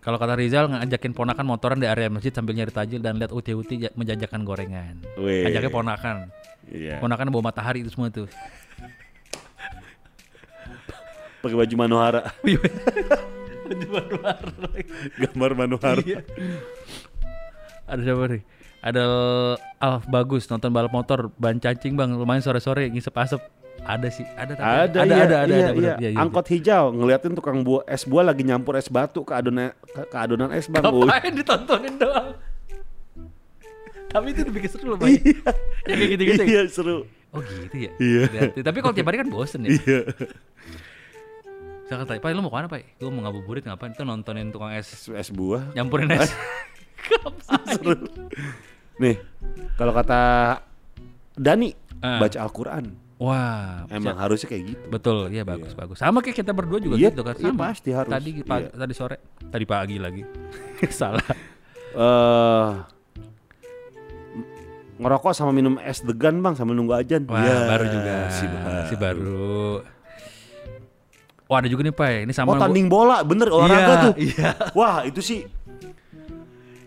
Speaker 2: Kalau kata Rizal ngajakin ponakan motoran di area masjid sambil nyari tajil dan lihat uti-uti ja- menjajakan gorengan.
Speaker 1: Weh.
Speaker 2: Ajaknya ponakan.
Speaker 1: Iya.
Speaker 2: Ponakan bawa matahari itu semua tuh.
Speaker 1: Pakai baju Manohara,
Speaker 2: Baru-baru.
Speaker 1: gambar Manohara.
Speaker 2: Ada siapa nih? Ada Alf Bagus nonton balap motor ban cacing bang lumayan sore-sore ngisep asap Ada sih, ada tapi
Speaker 1: Ada,
Speaker 2: ada
Speaker 1: iya,
Speaker 2: ada ada,
Speaker 1: iya,
Speaker 2: ada, benar.
Speaker 1: iya.
Speaker 2: Iya, iya,
Speaker 1: Angkot hijau ngeliatin tukang buah es buah lagi nyampur es batu ke adonan ke, ke adonan es bang. Wih.
Speaker 2: Ngapain ditontonin doang? Tapi itu lebih seru loh, Bay. ya kayak gitu-gitu. ya.
Speaker 1: Iya seru.
Speaker 2: Oh gitu ya.
Speaker 1: Iya.
Speaker 2: Berarti- Tapi kalau tiap hari kan bosen ya.
Speaker 1: Iya.
Speaker 2: Saya kata, "Pak, lu mau kemana, Pak?" Gue mau ngabuburit ngapain? Itu nontonin tukang es
Speaker 1: Es buah
Speaker 2: nyampurin es. Iya.
Speaker 1: seru. Nih, kalau kata Dani
Speaker 2: Ah.
Speaker 1: baca Al-Quran
Speaker 2: Wah,
Speaker 1: emang harusnya kayak gitu.
Speaker 2: Betul, iya bagus bagus. Sama kayak kita berdua juga
Speaker 1: Iya,
Speaker 2: gitu kan.
Speaker 1: iya,
Speaker 2: Sama.
Speaker 1: pasti harus.
Speaker 2: Tadi pagi,
Speaker 1: Iya.
Speaker 2: tadi sore, tadi pagi lagi. Salah.
Speaker 1: eh ngerokok sama minum es degan bang sama nunggu ajan.
Speaker 2: Wah,
Speaker 1: Ya,
Speaker 2: baru juga.
Speaker 1: Si baru.
Speaker 2: Si baru. Wah, ada juga nih, Pak. Ini sama
Speaker 1: Oh tanding bola bener olahraga
Speaker 2: Iya,
Speaker 1: tuh.
Speaker 2: iya.
Speaker 1: Wah itu sih.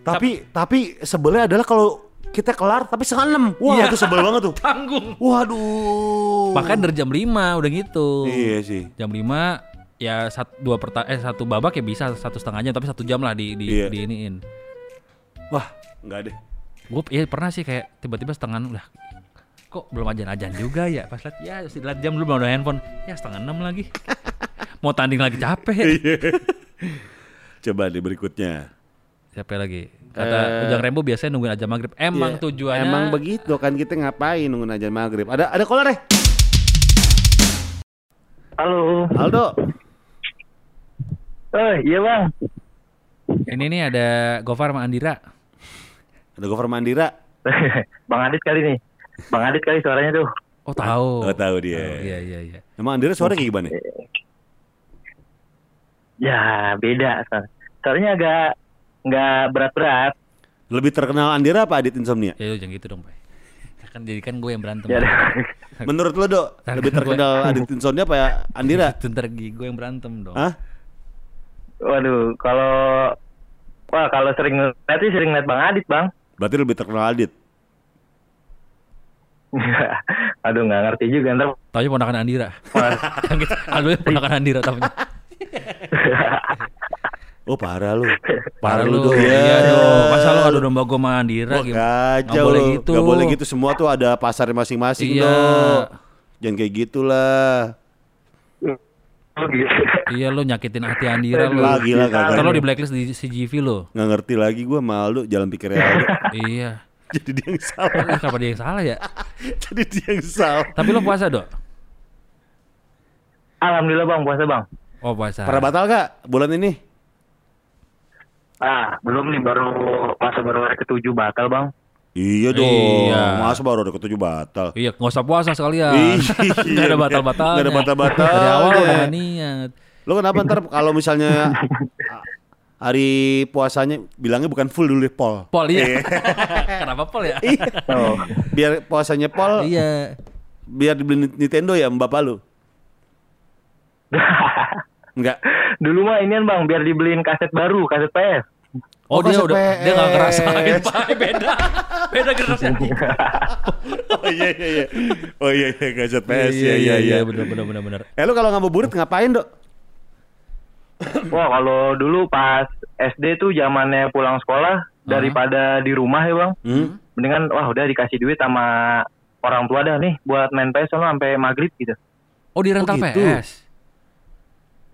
Speaker 1: Tapi tapi sebelnya adalah kalau kita kelar tapi setengah enam. Wah
Speaker 2: Iya.
Speaker 1: itu sebel banget tuh.
Speaker 2: tanggung.
Speaker 1: Waduh.
Speaker 2: Bahkan dari jam 5 udah gitu.
Speaker 1: Iya sih.
Speaker 2: Jam 5 ya sat- dua perta eh satu babak ya bisa satu setengah jam tapi satu jam lah di di
Speaker 1: Iya.
Speaker 2: diiniin.
Speaker 1: Wah nggak deh.
Speaker 2: Gue ya pernah sih kayak tiba-tiba setengah enam, lah kok belum ajan-ajan juga ya pas liat ya harus dilihat jam belum ada handphone ya setengah enam lagi mau tanding lagi capek
Speaker 1: Iya. Coba di berikutnya.
Speaker 2: capek lagi kata ujang rembo biasanya nungguin aja maghrib
Speaker 1: Eh.
Speaker 2: emang
Speaker 1: Iya,
Speaker 2: tujuannya
Speaker 1: Emang begitu kan kita ngapain nunggu ajan maghrib. Ada ada kolar deh.
Speaker 5: Halo.
Speaker 1: Aldo.
Speaker 5: Eh, iya bang.
Speaker 2: ini nih ada Gofar sama Andira
Speaker 1: Ada Gofar Mandira.
Speaker 5: bang Adit kali nih. Bang Adit kali suaranya tuh.
Speaker 2: oh
Speaker 1: Oh,
Speaker 2: tahu
Speaker 1: tahu dia.
Speaker 2: Tahu, iya iya iya
Speaker 1: Emang Andira suara kayak gimana?
Speaker 5: Ya beda. Sar. Suaranya agak nggak berat-berat.
Speaker 1: Lebih terkenal Andira apa Adit Insomnia?
Speaker 2: ya jangan gitu dong pak kan jadi kan gue yang berantem
Speaker 5: Ya,
Speaker 1: Menurut lo Dok,
Speaker 2: Terkenal
Speaker 1: lebih terkenal Adit Insomnia apa ya Andira?
Speaker 2: Itu ntar gi- gue yang berantem dong
Speaker 1: Hah?
Speaker 5: Waduh, kalau wah kalau sering ngeliat sih sering ngeliat bang Adit bang.
Speaker 1: Berarti lebih terkenal Adit.
Speaker 5: Aduh nggak ngerti juga ntar.
Speaker 2: taunya ponakan Andira Yang gitu, aduh ya ponakan Andira taunya
Speaker 1: Oh parah lu.
Speaker 2: parah lu
Speaker 1: Dok.
Speaker 2: iya dong masa lu adu
Speaker 1: lu.
Speaker 2: domba gue sama Andira
Speaker 1: Wah,
Speaker 2: gimana?
Speaker 1: Kacau
Speaker 2: Nggak boleh
Speaker 1: lu.
Speaker 2: gitu
Speaker 1: Nggak boleh gitu semua tuh ada pasar masing-masing
Speaker 2: Iya.
Speaker 1: Dok. Jangan kayak gitulah.
Speaker 5: Oh, gitu.
Speaker 2: Iya lo nyakitin hati Andira lo.
Speaker 1: Lah gila
Speaker 2: Ntar lo
Speaker 1: kagak.
Speaker 2: di blacklist di CGV lo.
Speaker 1: Nggak ngerti lagi gua malu jalan pikirnya Aldo.
Speaker 2: iya.
Speaker 1: Jadi dia yang salah.
Speaker 2: Eh, Kenapa dia yang salah ya?
Speaker 1: Jadi dia yang salah.
Speaker 2: Tapi lo puasa dok.
Speaker 5: Alhamdulillah bang puasa bang.
Speaker 2: Oh puasa.
Speaker 1: Pernah batal gak bulan ini?
Speaker 5: Ah belum nih baru puasa baru hari ketujuh batal bang.
Speaker 1: Iya dong.
Speaker 2: Iya.
Speaker 1: Masa baru ada ketujuh batal.
Speaker 2: Iya, nggak usah puasa sekalian.
Speaker 1: Iya.
Speaker 2: Nggak ada batal-batal.
Speaker 1: Nggak ada batal-batal.
Speaker 2: Dari awal
Speaker 1: Iya.
Speaker 2: udah nggak niat.
Speaker 1: Lo kenapa ntar kalau misalnya a- hari puasanya bilangnya bukan full dulu deh, Pol. Iya.
Speaker 2: Pol iya. Kenapa pol ya?
Speaker 5: Oh.
Speaker 1: Biar puasanya Pol,
Speaker 2: iya.
Speaker 1: biar dibeli Nintendo ya sama bapak lu. Enggak.
Speaker 5: Dulu mah inian bang biar dibeliin kaset baru kaset PS.
Speaker 1: Oh,
Speaker 2: Oh, dia
Speaker 1: kasih
Speaker 2: udah dia nggak
Speaker 1: PS.
Speaker 2: ngerasain Pak. beda beda generasi.
Speaker 1: Oh iya iya iya. Oh iya iya gadget PS ya iya iya.
Speaker 2: benar benar benar benar.
Speaker 1: Eh lu kalau ngabuburit ngapain, Dok?
Speaker 5: Wah kalau dulu pas SD tuh zamannya pulang sekolah daripada di rumah ya bang,
Speaker 1: Hmm?
Speaker 5: mendingan wah udah dikasih duit sama orang tua dah nih buat main PS sama sampai maghrib gitu.
Speaker 2: Oh di rental
Speaker 1: gitu.
Speaker 2: PS.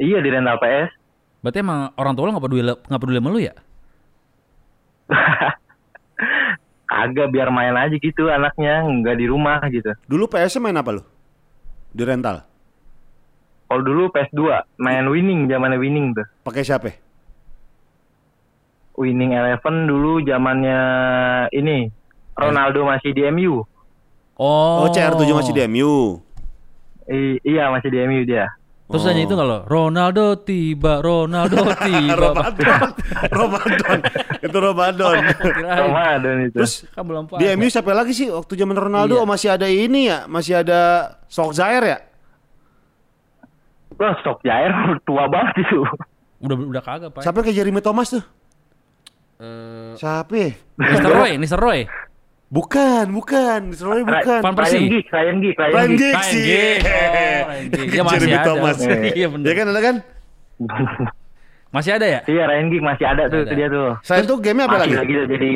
Speaker 5: Iya di rental PS.
Speaker 2: Berarti emang orang tua lo nggak peduli nggak peduli sama lu ya?
Speaker 5: Agak biar main aja gitu anaknya nggak di rumah gitu.
Speaker 1: Dulu PS-nya main apa lu? Di rental.
Speaker 5: Kalau dulu PS2 main winning zamannya winning tuh.
Speaker 1: Pakai siapa?
Speaker 5: Winning Eleven dulu zamannya ini Ronaldo masih di MU.
Speaker 1: Oh, CR7 masih di MU.
Speaker 5: I- iya masih di MU dia.
Speaker 2: Terus hanya
Speaker 1: Oh.
Speaker 2: itu kalau Ronaldo tiba, Ronaldo tiba.
Speaker 1: Ramadan. Ramadan. Itu Ramadan.
Speaker 2: Kirain.
Speaker 5: Ramadan itu.
Speaker 1: Terus
Speaker 2: Kan belum puasa.
Speaker 1: Di MU siapa lagi sih waktu zaman Ronaldo
Speaker 2: Iya.
Speaker 1: oh, masih ada ini ya, masih ada Solskjaer ya?
Speaker 5: Wah, stok jair tua banget itu.
Speaker 2: udah udah kagak, Pak.
Speaker 1: Siapa yang ke Jeremy Thomas tuh?
Speaker 2: Eh.
Speaker 1: Siapa? ya?
Speaker 2: Mr. Roy, Mr. Roy.
Speaker 1: Bukan, bukan, Sebenarnya bukan.
Speaker 2: Van Persie.
Speaker 5: Ryan Giggs, Ryan Giggs, Ryan
Speaker 1: Ryan
Speaker 5: Giggs.
Speaker 1: Giggs
Speaker 2: Ryan
Speaker 1: sih.
Speaker 2: Giggs. Oh, Ryan Giggs. Dia masih
Speaker 1: Jeremy
Speaker 2: ada.
Speaker 1: Thomas.
Speaker 2: Iya, bener.
Speaker 1: Iya kan ada kan?
Speaker 2: Masih ada ya?
Speaker 5: Iya, Ryan Giggs masih ada tuh
Speaker 2: Ada.
Speaker 5: tuh dia tuh.
Speaker 1: Saya tuh game apa
Speaker 5: Masih
Speaker 1: lagi?
Speaker 5: lagi tuh jadi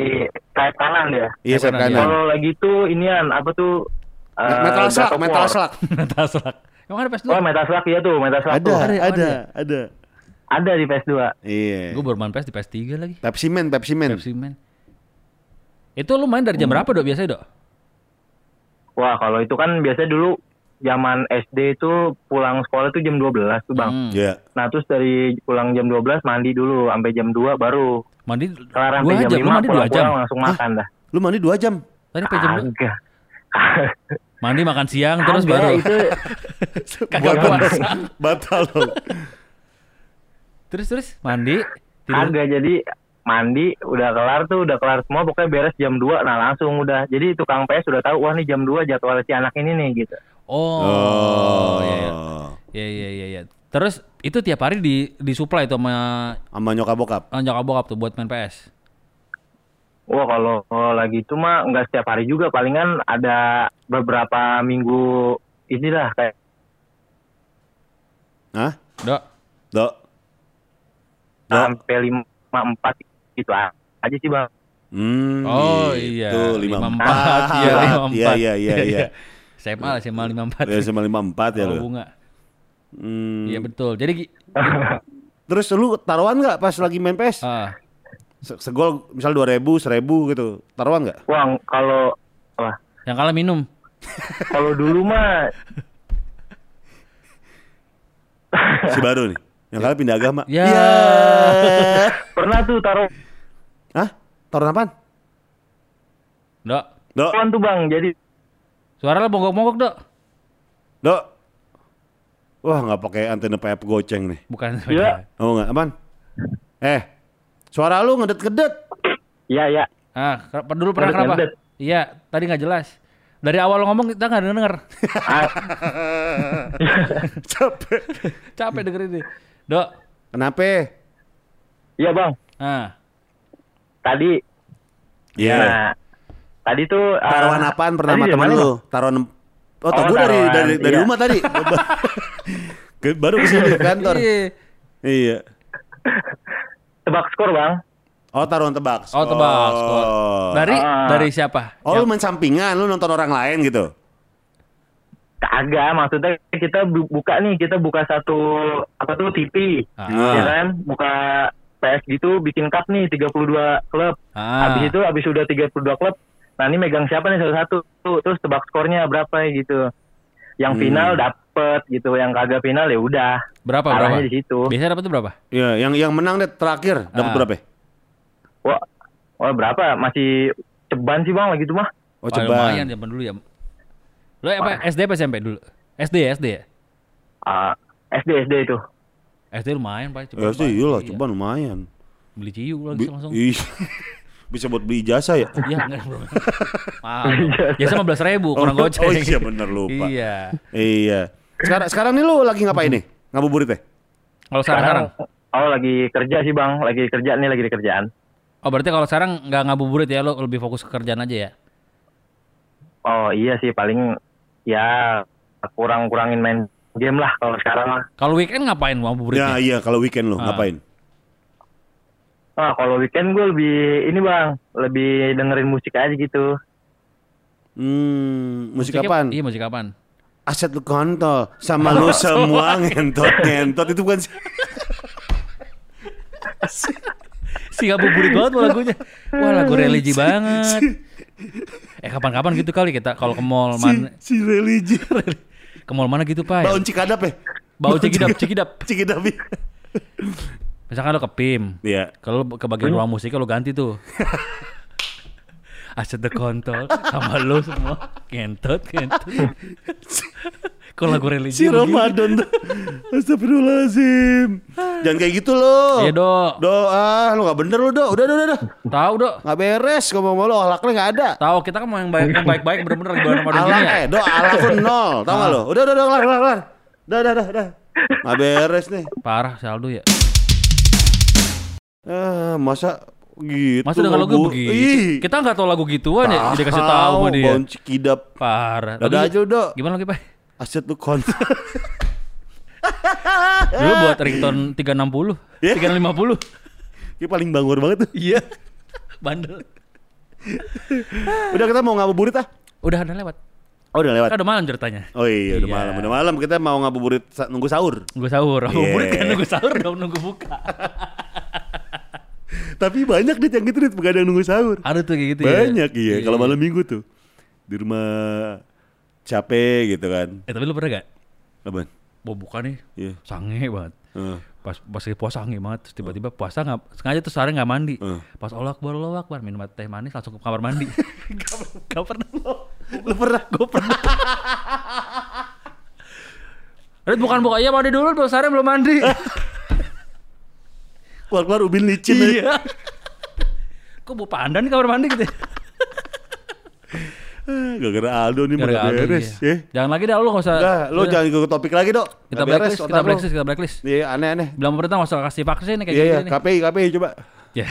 Speaker 5: sayap kanan ya.
Speaker 1: Iya, sayap
Speaker 2: Sayap kanan.
Speaker 1: kanan.
Speaker 5: Kalau lagi tuh inian apa tuh eh,
Speaker 1: metal slug,
Speaker 5: God of
Speaker 1: metal
Speaker 5: War.
Speaker 1: slug.
Speaker 2: Oh, Metal Slug. Emang ada PS2?
Speaker 5: Oh, Metal Slug ya tuh, Metal Slug
Speaker 1: Ada,
Speaker 5: tuh.
Speaker 1: ada, ada,
Speaker 5: Ada di PS2.
Speaker 1: Iya.
Speaker 2: Gue baru main PS di PS3 lagi.
Speaker 1: Pepsi Man, Pepsi Man.
Speaker 2: Pepsi Man. Itu lu main dari
Speaker 1: Hmm.
Speaker 2: jam berapa, Dok? Biasanya, Dok?
Speaker 5: Wah, kalau itu kan biasanya dulu zaman SD itu pulang sekolah tuh jam 12 tuh, Bang.
Speaker 2: Hmm.
Speaker 1: Iya.
Speaker 5: Nah, terus dari pulang jam 12 mandi dulu sampai jam 2 baru
Speaker 2: Mandi dua
Speaker 5: kelar sampai jam
Speaker 2: jam, lu mandi dua jam.
Speaker 5: 5 pulang-pulang langsung makan dah.
Speaker 1: Lu mandi 2 jam.
Speaker 2: Tadi sampai jam dua.
Speaker 5: Kagak.
Speaker 2: Mandi makan siang terus
Speaker 5: Kagak,
Speaker 2: baru.
Speaker 5: itu
Speaker 2: Kagak puasa.
Speaker 1: Batal loh.
Speaker 2: Terus terus mandi. Tidur.
Speaker 5: kagak jadi mandi udah kelar tuh udah kelar semua pokoknya beres jam 2 nah langsung udah jadi tukang PS sudah tahu wah nih jam 2 jadwal si anak ini nih gitu
Speaker 2: Oh.
Speaker 1: Oh,
Speaker 2: Iya, iya. Iya iya iya iya. Terus itu tiap hari di disuplai tuh sama
Speaker 1: Sama nyokap bokap.
Speaker 2: sama nyokap bokap tuh buat main PS.
Speaker 5: Wah kalau kalau lagi itu mah nggak setiap hari juga palingan ada beberapa minggu inilah kayak
Speaker 1: Hah?
Speaker 2: Dok.
Speaker 1: Dok. Dok.
Speaker 5: sampai lima empat gitu aja sih bang.
Speaker 1: Hmm,
Speaker 2: Oh iya.
Speaker 1: gitu. 54.
Speaker 2: Iya
Speaker 1: Iya
Speaker 2: 54.
Speaker 1: iya iya iya.
Speaker 2: SMA lah SMA 54.
Speaker 1: Ya sama 54 ya
Speaker 2: Kalau
Speaker 1: lu.
Speaker 2: bunga.
Speaker 1: Hmm.
Speaker 2: Iya betul. Jadi gi-
Speaker 1: Terus lu taruhan nggak pas lagi main PS?
Speaker 2: ah,
Speaker 1: Se- Segol misal 2000, 1000 gitu. Taruhan nggak?
Speaker 5: Wah kalau wah
Speaker 2: yang kalah minum.
Speaker 5: kalau dulu mah
Speaker 1: Si baru nih. Yang kali pindah agama.
Speaker 2: Ya.
Speaker 5: pernah tuh taruh
Speaker 1: Hah? Taruhan apaan?
Speaker 2: Dok.
Speaker 1: Dok,
Speaker 5: taruhan tuh bang jadi
Speaker 2: Suara lo bongkok-bongkok, Dok.
Speaker 1: dok. Wah, nggak pakai antena PF goceng nih.
Speaker 2: Bukan.
Speaker 5: Iya.
Speaker 1: Oh nggak, apaan? Eh, suara lu ngedet-ngedet.
Speaker 5: ya ya
Speaker 2: Ah, ker- dulu pernah
Speaker 5: Ngedet,
Speaker 2: kenapa?
Speaker 5: ngedet.
Speaker 2: Iya, tadi nggak jelas. Dari awal lo ngomong kita nggak denger.
Speaker 5: Ah,
Speaker 1: Capek.
Speaker 2: Capek dengerin ini. Dok.
Speaker 1: Kenapa?
Speaker 5: ya bang
Speaker 2: Ah.
Speaker 5: tadi
Speaker 1: Iya.
Speaker 5: nah, tadi tuh ah,
Speaker 1: Taruhan apaan pernah
Speaker 5: tadi
Speaker 1: sama
Speaker 5: dari
Speaker 1: temen
Speaker 5: mana,
Speaker 1: lu?
Speaker 5: Bang?
Speaker 1: Taruhan Oh, tau
Speaker 5: Oh,
Speaker 1: gua dari
Speaker 5: taruhan,
Speaker 1: dari dari
Speaker 5: iya.
Speaker 1: rumah tadi. Ke- Baru kesini ke kantor.
Speaker 2: Iya.
Speaker 1: Iya.
Speaker 5: tebak skor bang
Speaker 1: Oh, taruhan tebak. Nah,
Speaker 2: Oh, tebak skor. Dari
Speaker 5: Ah.
Speaker 2: dari siapa?
Speaker 1: Oh, lu
Speaker 2: Siapa?
Speaker 1: main sampingan, lu nonton orang lain gitu.
Speaker 5: Kagak, maksudnya kita bu- buka nih, kita buka satu apa tuh TV,
Speaker 2: Ah.
Speaker 5: ya kan? Buka PS gitu, bikin cup nih 32 klub.
Speaker 2: Ah.
Speaker 5: Habis itu habis udah 32 klub, nah ini megang siapa nih satu-satu, Tuh, terus tebak skornya berapa gitu. Yang
Speaker 2: Hmm.
Speaker 5: final dapet gitu, yang kagak final ya udah.
Speaker 2: Berapa berapa?
Speaker 5: Arahnya di situ.
Speaker 2: Biasanya dapat tuh berapa?
Speaker 1: Iya, yang yang menang deh terakhir dapat
Speaker 2: Ah.
Speaker 1: berapa? ya?
Speaker 5: Wah, wah berapa? Masih ceban sih bang lagi tuh mah.
Speaker 1: Oh,
Speaker 2: Wah,
Speaker 1: coba.
Speaker 2: lumayan zaman dulu ya. Lo apa SD apa SMP dulu? SD ya, SD ya?
Speaker 5: Ah, SD SD itu.
Speaker 2: SD lumayan, Pak.
Speaker 1: Ya sih,
Speaker 2: Pak.
Speaker 1: iyalah, coba lumayan.
Speaker 2: Beli ciu lagi
Speaker 1: Bi- iya.
Speaker 2: langsung.
Speaker 1: Ih, bisa buat beli jasa ya?
Speaker 2: Iya, enggak. bro. Mahal. Biasa 15 ribu, kurang
Speaker 1: Oh,
Speaker 2: goceng.
Speaker 1: oh iya, bener, lupa.
Speaker 2: Iya.
Speaker 1: Iya. Sekarang sekarang nih lu lagi ngapain nih? Ngabuburit ya?
Speaker 2: Kalau sekarang,
Speaker 5: Oh lagi kerja sih bang, lagi kerja nih lagi di kerjaan.
Speaker 2: oh berarti kalau sekarang nggak ngabuburit ya, lo lebih fokus ke kerjaan aja ya?
Speaker 5: Oh iya sih paling ya kurang-kurangin main game lah kalau sekarang mah.
Speaker 2: Kalau weekend ngapain
Speaker 1: Ya
Speaker 2: ngabuburitnya?
Speaker 1: iya, kalau weekend lu
Speaker 2: Ah.
Speaker 1: ngapain?
Speaker 5: Ah, kalau weekend gue lebih ini bang, lebih dengerin musik aja gitu.
Speaker 1: Hmm, musik
Speaker 2: Musiknya-
Speaker 1: apaan?
Speaker 2: Iya, musik apaan?
Speaker 1: Aset lu kontol sama lu semua ngentot-ngentot itu bukan
Speaker 2: Si ngabuburit banget wah lagunya. Wah, lagu religi banget. Eh, kapan-kapan gitu kali kita kalau ke mall mana?
Speaker 1: si religi.
Speaker 2: Ke mall mana gitu, Pak? ya?
Speaker 1: Baun Cikadap ya?
Speaker 2: Bau cikidap, cikidap.
Speaker 1: Cikidap. ya?
Speaker 2: Misalkan lo ke PIM.
Speaker 1: Iya.
Speaker 2: Kalau lo ke bagian ruang musik lo ganti tuh. Aset the kontol sama lo semua kentot kentot. Kalau lagu religi
Speaker 1: Si
Speaker 2: begini.
Speaker 1: Ramadan. tuh. Astagfirullahalazim. Jangan kayak gitu lo.
Speaker 2: Iya, Dok.
Speaker 1: Doa, lu gak bener lu, Dok. Udah, udah, udah, udah.
Speaker 2: Tahu dok.
Speaker 1: Gak beres ngomong sama lu, akhlaknya gak ada.
Speaker 2: Tahu kita kan mau yang baik yang baik-baik bener-bener di bulan Ramadan
Speaker 1: Alak
Speaker 2: gini ya. Ah.
Speaker 1: eh, do alak lu nol, tau gak lu? Udah, udah, udah, kelar, kelar, kelar. Udah, udah, udah, udah. Gak beres nih.
Speaker 2: Parah si Aldo ya.
Speaker 1: Eh, masa gitu.
Speaker 2: Masa dengan
Speaker 1: Bu?
Speaker 2: lagu
Speaker 1: Ih,
Speaker 2: begitu. Kita nggak tahu lagu gituan ya. Dia kasih tahu sama dia.
Speaker 1: Baun Cikidap.
Speaker 2: Parah.
Speaker 1: Dadah
Speaker 2: Lagunya-
Speaker 1: aja lu, Dok.
Speaker 2: Gimana lagi Pak?
Speaker 1: Aset lu kontol.
Speaker 2: Dulu buat ringtone 360,
Speaker 1: Iya.
Speaker 2: 350.
Speaker 1: Dia paling bangor banget tuh.
Speaker 2: Iya. Bandel.
Speaker 1: Udah kita mau ngabuburit ah.
Speaker 2: Udah ada lewat.
Speaker 1: Oh udah lewat.
Speaker 2: Kan udah malam ceritanya.
Speaker 1: Oh iya, udah
Speaker 2: Iya.
Speaker 1: malam, udah malam kita mau ngabuburit sa- nunggu sahur.
Speaker 2: Nunggu sahur.
Speaker 1: Iya.
Speaker 2: Ngabuburit kan nunggu sahur dong, nunggu buka.
Speaker 1: Tapi banyak deh yang gitu dit begadang nunggu sahur.
Speaker 2: Ada tuh kayak gitu ya.
Speaker 1: Banyak Ah, iya, kalau malam minggu tuh di rumah capek gitu kan.
Speaker 2: Eh tapi lu pernah gak?
Speaker 1: Apaan?
Speaker 2: Mau buka nih,
Speaker 1: Iya.
Speaker 2: sange banget.
Speaker 1: Heeh.
Speaker 2: Pas pas lagi puasa sange banget, terus tiba-tiba puasa nggak sengaja tuh sehari nggak mandi.
Speaker 1: Heeh.
Speaker 2: Pas Allah akbar, Allah akbar, minum teh manis langsung ke kamar mandi. Gak per- gak pernah lo.
Speaker 1: Lu pernah?
Speaker 2: Gue pernah. Rit bukan buka iya mandi dulu, belum sehari belum mandi.
Speaker 1: Keluar-keluar ubin licin. aja.
Speaker 2: iya. Kok bu pandan di kamar mandi gitu? ya?
Speaker 1: Gara-gara Ah, Aldo nih mana
Speaker 2: Gara-gara Aldo,
Speaker 1: beres.
Speaker 2: iya.
Speaker 1: Eh.
Speaker 2: Jangan lagi dah lu nggak usah.
Speaker 1: Udah, lu
Speaker 2: udah.
Speaker 1: jangan ikut topik lagi, Dok.
Speaker 2: kita
Speaker 1: Nggak
Speaker 2: blacklist,
Speaker 1: otak
Speaker 2: kita
Speaker 1: lu.
Speaker 2: blacklist, kita blacklist.
Speaker 1: Iya, aneh-aneh.
Speaker 2: Bilang pemerintah nggak usah kasih vaksin kayak
Speaker 1: Iya, iya,
Speaker 2: gini.
Speaker 1: KPI, KPI coba.
Speaker 2: Ya.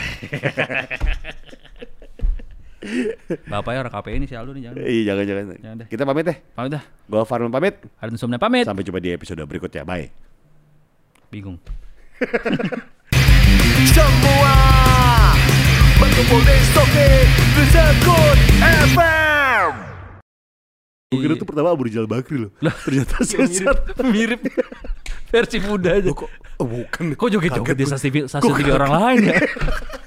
Speaker 2: Bapaknya orang KPI ini si Aldo nih jangan.
Speaker 1: Iya, jangan-jangan.
Speaker 2: Jangan deh.
Speaker 1: Kita pamit deh.
Speaker 2: Pamit dah.
Speaker 1: Gua Farman pamit.
Speaker 2: Harun Sumna pamit.
Speaker 1: Sampai jumpa di episode berikutnya. Bye.
Speaker 2: Bingung.
Speaker 3: Semua berkumpul di Soke Rizakun FM
Speaker 1: Gue kira tuh pertama Abu Rizal Bakri loh. Ternyata sesat.
Speaker 2: Mirip. Versi muda aja.
Speaker 1: Kok oh, bukan.
Speaker 2: Kok joget-joget
Speaker 1: Kaget
Speaker 2: di
Speaker 1: gua.
Speaker 2: stasiun TV, stasiun TV orang lain ya?